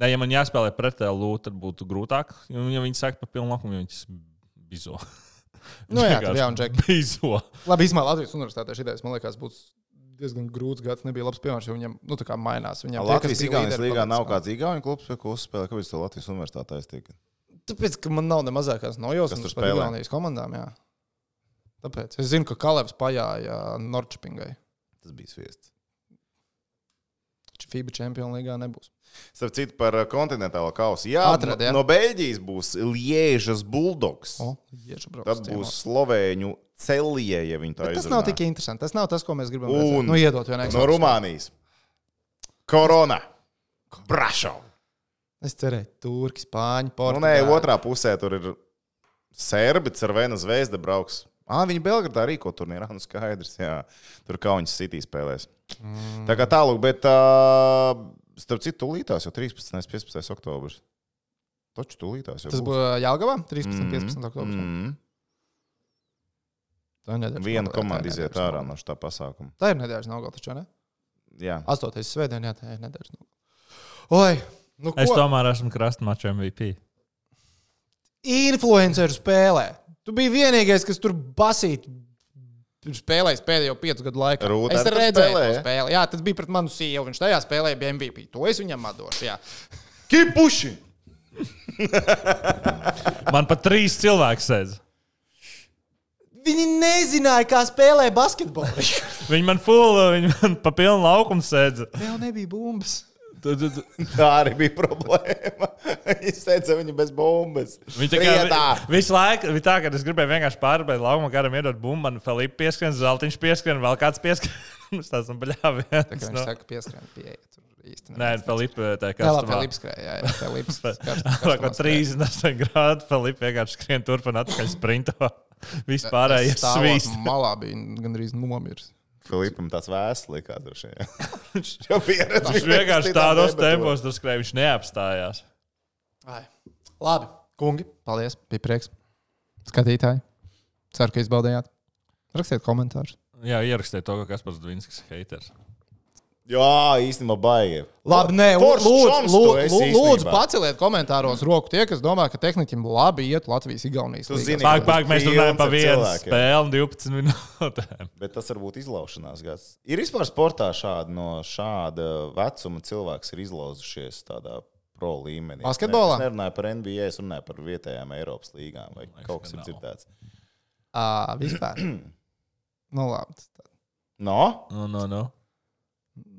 S3: Nē, ja man jāspēlē pretēji lūdzu, tad būtu grūtāk. Jo, Ja viņi saka pa pilnu laukumu, ja viņš bizo.
S1: Nu jā, tur
S3: Vienkārši
S1: jau ir džek.
S3: Bizo.
S1: Labi, īstenībā Latvijas universitātē šī ideja, man liekas, būs diezgan grūts gads. Nebija labs piemērs, jo viņam, nu, tā kā mainās. Viņam tie, kas
S2: Latvijas
S1: bija
S2: Igaunijas
S1: līderi,
S2: līgā
S1: paliek
S2: nav
S1: spēlē.
S2: kāds Igaunijas klubs, pie ko uzspēlē, kāpēc to Latvijas universitātē aiztika?
S1: Tāpēc, ka man nav ne mazākās nojausmas
S2: Kas tur
S1: par
S2: spēlē?
S1: Igaunijas komandām. Jā. Tāpēc es zinu, ka Kalevs pajāja Norčpingai.
S2: Tas bija sviests.
S1: FIBA čempionu līgā nebūs.
S2: Starp citu, par uh, kontinentālo kausu. Jā,
S1: Atrad, jā.
S2: no no Beļģijas būs Liežas Bulldogs.
S1: O, jiešu, brauc
S2: Tad
S1: ciemos.
S2: būs Slovēņu celie, ja viņi tā
S1: Bet tas
S2: izrunā.
S1: nav tik interesanti. Tas nav tas, ko mēs gribam.
S2: Un
S1: Un, nu, iedot vienai
S2: No Rumānijas. Korona. Brašo.
S1: Es cerēju, turki, spāņi,
S2: Nu, nē,
S1: portugāļi.
S2: otrā pusē tur ir serbi, ar vienu zvezdu brauks. Ah, viņi Belgradā rīko turnīru. Ah, nu skaidrs, jā. Tur Kaunis City spēlēs. Mm. Tā kā tālāk, bet uh, starp citu, tūlītās jau 13. un 15. oktobris. Taču tūlītās jau
S1: Tas
S2: būs.
S1: bija Jāgavā 13. un 15. oktobrī.
S2: Mm.
S1: Tā ir nedēļas
S2: Viena
S1: nogalē,
S2: komanda
S1: tā ir
S2: iziet
S1: nedēļas
S2: ārā
S1: nogalē.
S2: no šā pasākuma.
S1: Tā ir nedēļas nogalē, taču ne?
S2: Jā,
S1: 8. svētdienā, jā, tā ir nedēļas nogalē. Oi, nu
S3: Es
S1: ko?
S3: tomēr esmu krastmačs MVP.
S1: influenceru spēlē. Tu biji vienīgais, kas tur basīt spēlējis pēdējo piecu gadu laikā.
S2: Rūta
S1: es
S2: arī tur
S1: redzēju,
S2: spēlēja?
S1: to spēli. Jā, tas bija pret manu sievu. Viņš tajā spēlēja bija MVP. To es viņam atdošu. Jā.
S2: kipuši!
S3: Man pat trīs cilvēki sēdz.
S1: Viņi nezināja, kā spēlē basketbolu.
S3: Viņi man fulla, viņi man pa pilnu laukumu sēdz.
S1: Vēl nebija bumbas.
S2: Tā arī bija problēma. Viņa teica, viņa bez bombas.
S3: Viņa tā kā
S2: Riedā!
S3: vi- visu laiku bija tā, ka es gribēju vienkārši pārbaudīt laukumu, kādam iedot bumbu. Man Filipa pieskrien, Zeltiņš pieskrien, vēl kāds pieskrien. Mums tas ir bļāvi.
S1: Tā kā viņš saka, pieskrien pieeja. Tur īsti nav.
S3: nu. Nē, Filipa, tā kā
S1: Jā, labi, Filips skrēja. Jā, jā, Filips.
S3: Tā kā 38 grādi Filipa vienkārši skrien turp un atpakaļ sprintā. Vispārējais svīst.
S1: Malā bija gandrīz nomiris.
S2: Filipam tāds vēsts likās droši vien. Viņš jau pieredzējis.
S3: Viņš vienkārši tādos tempos tur skrēja, viņš neapstājās.
S1: Ai. Labi, kungi, paldies. Bija prieks. Skatītāji, ceru, ka izbaudījāt. Rakstiet komentārus.
S3: Jā, ierakstiet to, kas pats Dvinskis heiters.
S2: Jā, īstenībā baigi.
S1: Labi, nē,
S2: Foršs
S1: lūdzu,
S2: čoms tu
S1: lūdzu,
S2: esi
S1: lūdzu, lūdzu
S2: īstenībā.
S1: paceliet komentāros roku tie, kas domā, ka tehnikam labi iet Latvijas Igaunijas
S2: Tu
S1: līgā.
S2: zini,
S3: Pārāk, pārāk mēs
S2: Pilns
S3: runājam par
S2: ar
S3: vienu
S2: cilvēkiem.
S3: spēli un 12 minūtēm.
S2: Bet tas var būt izlaušanās gads. Ir vispār sportā šādi no šāda vecuma cilvēks ir izlauzušies tādā pro līmenī. Es ne-
S1: Basketbolā?
S2: Es nerunāju par NBA, es runāju par vietējām Eiropas līgām vai kaut kas ir
S3: ka nav.
S2: dzirdēts.
S1: Ā, vispār. nu, labi. tas tā.
S2: No?
S3: No, no, no.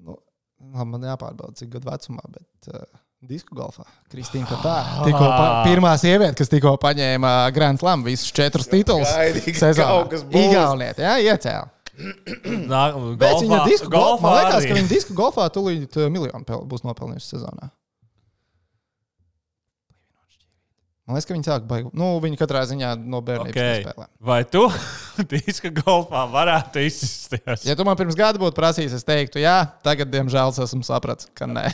S1: Nu, labi, man jāpārbauda, cik gadu vecumā, bet uh, disku golfā. Kristīna Patā. Tikko pa, pirmā sieviete, kas tikko paņēma eh, Grand Slam visus četrus titulus.
S2: gaidīju, ka kaut kas būs.
S1: Igauniet, jā, iecēl.
S3: Nā,
S1: Bet viņa disku golfā,
S3: golfā
S1: man liekas, ka
S3: arī.
S1: viņa disku golfā tūlīt eh, miljonu pel- būs nopelnījusi sezonā. Man liekas, ka viņa sāk baigta. Nu, viņa katrā ziņā no bērnības okay.
S3: Okei.
S1: spēlē.
S3: Vai tu diska golfā varētu izsisties?
S1: Ja tu man pirms gada būtu prasījis, es teiktu, jā, tagad, diemžēl, es esmu sapratis, ka nē.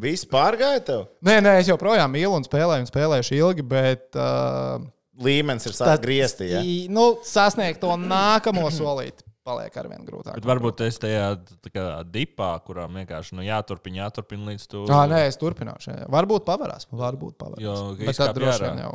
S2: Viss pārgāja tev?
S1: nē, nē, es joprojām mīlu un spēlēju, un spēlējuši ilgi, bet. Uh,
S2: Līmenis ir sācis griezties. Ja?
S1: i- Nu, sasniegt to nākamo solīti paliek arvien grūtāk.
S3: Bet varbūt es tajā tā kā, dipā, kurām vienkārši nu, jāturpina, jāturpina līdz tu.
S1: Ah, nē, es turpināšu. jā, jā. Varbūt pavērās. Varbūt pavērās.
S3: Jo, ka
S1: Bet tad
S3: izkāpj
S1: droši
S3: ārā.
S1: vien jau.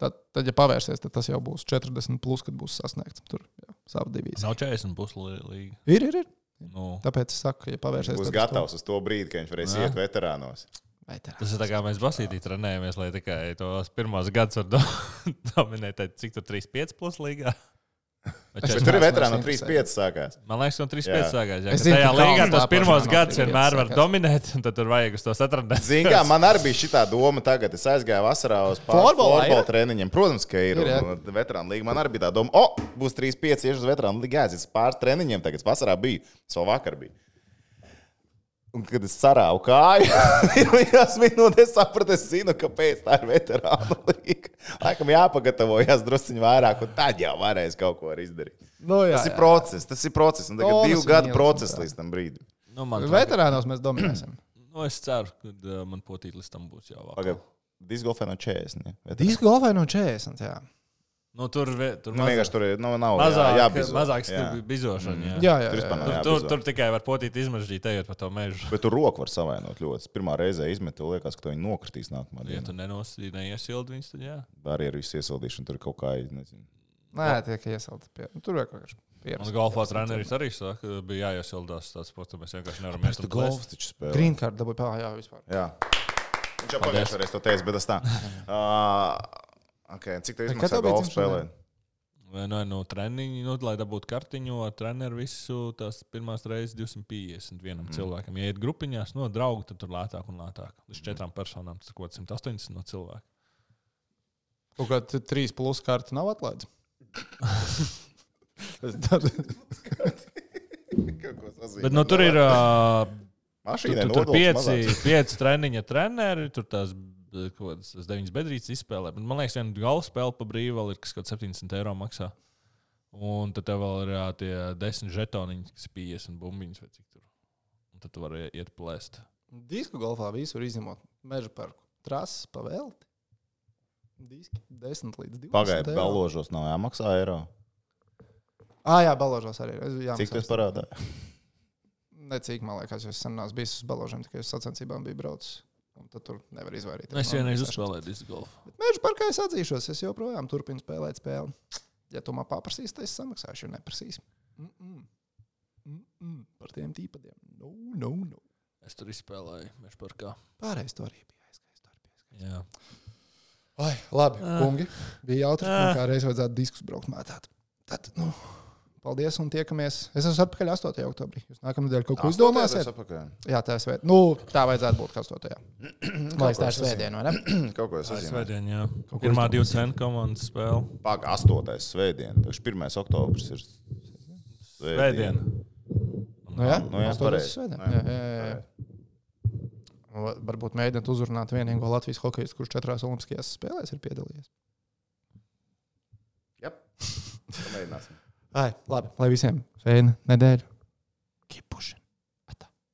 S1: Tad, tad, ja pavērsies, tad tas jau būs 40, plus, kad būs sasniegts tur jau savu divīziju.
S3: Nav 40 puslīgi.
S1: Ir, ir, ir.
S3: Nu,
S1: Tāpēc es saku, ja pavērsies,
S2: Būs
S1: tad
S2: gatavs uz to brīdi, kad viņš varēs iet veterānos.
S1: Veterāns.
S3: tas ir tā kā mēs basītī trenējamies, lai tikai tos pirmos gadus var do- dominēt. Tad Cik tur 3-5 puslīgā?
S2: Bet tur ir
S1: neesmu
S2: veterāna no
S1: vairs
S2: 3-5 sākās.
S3: Man liekas, no 3-5
S2: Jā.
S3: sākās. Jā,
S1: Es
S3: ka
S1: zinu,
S3: tajā
S1: ka
S3: līgā
S1: Kalns
S3: tos
S1: tā
S3: pirmos
S1: pašā nav
S3: gadus
S1: 3-5
S3: vienmēr var
S1: sākās.
S3: dominēt, un tad tur vajag uz to satranēt.
S2: Ziniet, kā man arī bija šī doma tagad. Es aizgāju vasarā uz
S1: Florbolā
S2: pārbaudījumu
S1: ir?
S2: treniņiem. Protams, ka ir.
S1: Ir, jā.
S2: un, un Veterāna līnija. Man arī bija tā doma, o, būs 3-5 iešu uz veterāna līniju. Gājis pāris treniņiem, tagad vasarā bija. Es vēl vakar biju. Un, kad es sarāvu kāju, pirmajās minūtēs sapratu, es zinu, kāpēc tā ir veterāna līnija. Laikam jāpagatavojas druskuļi vairāk, un tad jau varēs kaut ko arī izdarīt.
S1: Nu, jā,
S2: Tas ir
S1: jā.
S2: process, tas ir process. Un tagad
S1: Tonas
S2: divu
S1: un
S2: gadu
S1: ielas
S2: process
S1: un tā.
S2: līdz tam brīdim.
S3: Nu, man tā-
S1: Veterānos mēs dominēsim.
S3: Nu, es ceru, ka uh, man potīt līdz tam būs jau labi.
S2: Pagaidām, disgolfē no 40. vai tā?
S1: Disku golfā no 40. Jā,
S3: Nu, tur vi- tur
S2: Nu, vienkārši tur ir- nu, nav
S3: mazāk,
S2: jā,
S3: jā,
S2: jābizo. Jā.
S3: mazāk stipri bizošana. Mm. Jā.
S1: jā, jā.
S2: Tur
S1: jā,
S2: vispār
S1: jā.
S2: nav.
S3: Tur,
S2: Jā,
S3: tur,
S2: bizo.
S3: tur tikai var potīt izmažģīt, ejot pa to mežu.
S2: Bet tur roka var savainot ļoti. Pirmā reize izmet, tev liekas, ka to viņa nokritīs nākamā
S3: Ja
S2: dienā.
S3: tu nenosīdi, neiesildi viņus, tad jā.
S2: Arī ar visu iesildīšanu tur kaut kā nezinu.
S1: Nē, tiek iesilta. Pie... nu, Tur vajag vienkārši
S3: Mums
S1: pierast.
S3: golfā treneris arī saka, ka bija jāiesildās tāds sports, mēs vienkārši nevaram
S2: Mēs
S3: iet
S2: tur
S3: un plēst.
S2: golfs taču spēlē.
S1: Green card dabūja pāri. Jā, vispār.
S2: Jā. Viņš jau pagājušajā reizē to teica, bet tas tā. Uh, okay. Cik tev
S1: Bet kad
S2: izmaksā
S1: tev bija
S2: golfs
S1: dzimšanas diena?
S2: spēlē?
S3: Vai nu, nu treniņi, nu, lai dabūtu kartiņu, ar treneru visu tās pirmās reizes 250 vienam mm. cilvēkam. Ja iet grupiņās, no draugu, tad tur lētāk un lētāk. Līdz četrām personām tas kaut kas 180 no cilvēka.
S1: Kaut kā t- trīs plus karti nav atlaidis. Tad
S2: Kaut ko sazīmē.
S3: Bet nu, tur ir uh, tu,
S2: Mašīnai
S3: tu, tur
S2: nodols
S3: pieci,
S2: mazāks.
S3: pieci treniņa treneri, tur tās eh, kaut kādas tas deviņas bedrītes izspēlē. Bet, man liekas, viena galva spēle pa brīvu vēl ir, kas kaut kāds 70 eiro maksā. Un tad tev vēl ir jā, tie desmit žetoniņi, kas ir 50 bumbiņas vai cik tur. Un tad tu vari iet plēst.
S1: disku golfā visur izņemot meža parku. trases pavēlti. Diski 10 līdz 20.
S2: Pagaidiet,
S1: eiro.
S2: balūžos nav jāmaksā eiro.
S1: Ā, jā, balāžos arī. ir. Jā,
S2: Cik tas parādā?
S1: Necīgi, man liekas, jo es sen neesmu bijis uz balāžiem, tikai uz sacensībām biju braucis. Un tad tur nevar izvairīties.
S3: Es
S1: no
S3: vienreiz
S1: maksāšanas.
S3: uzspēlēju disku golfu.
S1: Bet Mēģinājums parkā es atzīšos, es joprojām turpinu spēlēt spēli. Ja tu man paprasīs, tad es samaksāšu, ja neprasīs. Mm -mm. Mm -mm. Par tiem tīpadiem. No, no, no.
S3: Es tur izspēlēju meža parkā.
S1: Pārējais to arī bija aizskaists.
S3: Jā.
S1: Ai, labi, kungi. Bija jautri,
S5: Ā.
S1: un kā reiz vajadzētu diskus braukt mētāt. Tad, nu, paldies un tiekamies. Es esmu atpakaļ 8. oktobrī. Jūs nākamā nedēļa kaut ko izdomāsiet? Jā, tā ir svētdiena. Nu, tā vajadzētu būt 8. Lai tā ir svētdiena, vai ne?
S2: Kaut ko es esmu.
S5: Svētdien, jā. Pirmā divu cenu komandas spēle.
S2: Pag 8. svētdiena. Tagad 1. oktobris ir
S5: Svētdien.
S1: Nu, jā,
S2: Nu, jā,
S1: Astoņos
S2: pareizi.
S1: svētdien.
S2: Jā,
S1: Jā, jā, jā, jā. Va- Varbūt mēģināt uzrunāt vienīgo Latvijas hokeju, kurš četrās Olimpiskajās spēlēs ir piedalījies.
S2: Pamēģināsim.
S1: Ai, labi, lai visiem sveina nedēļa.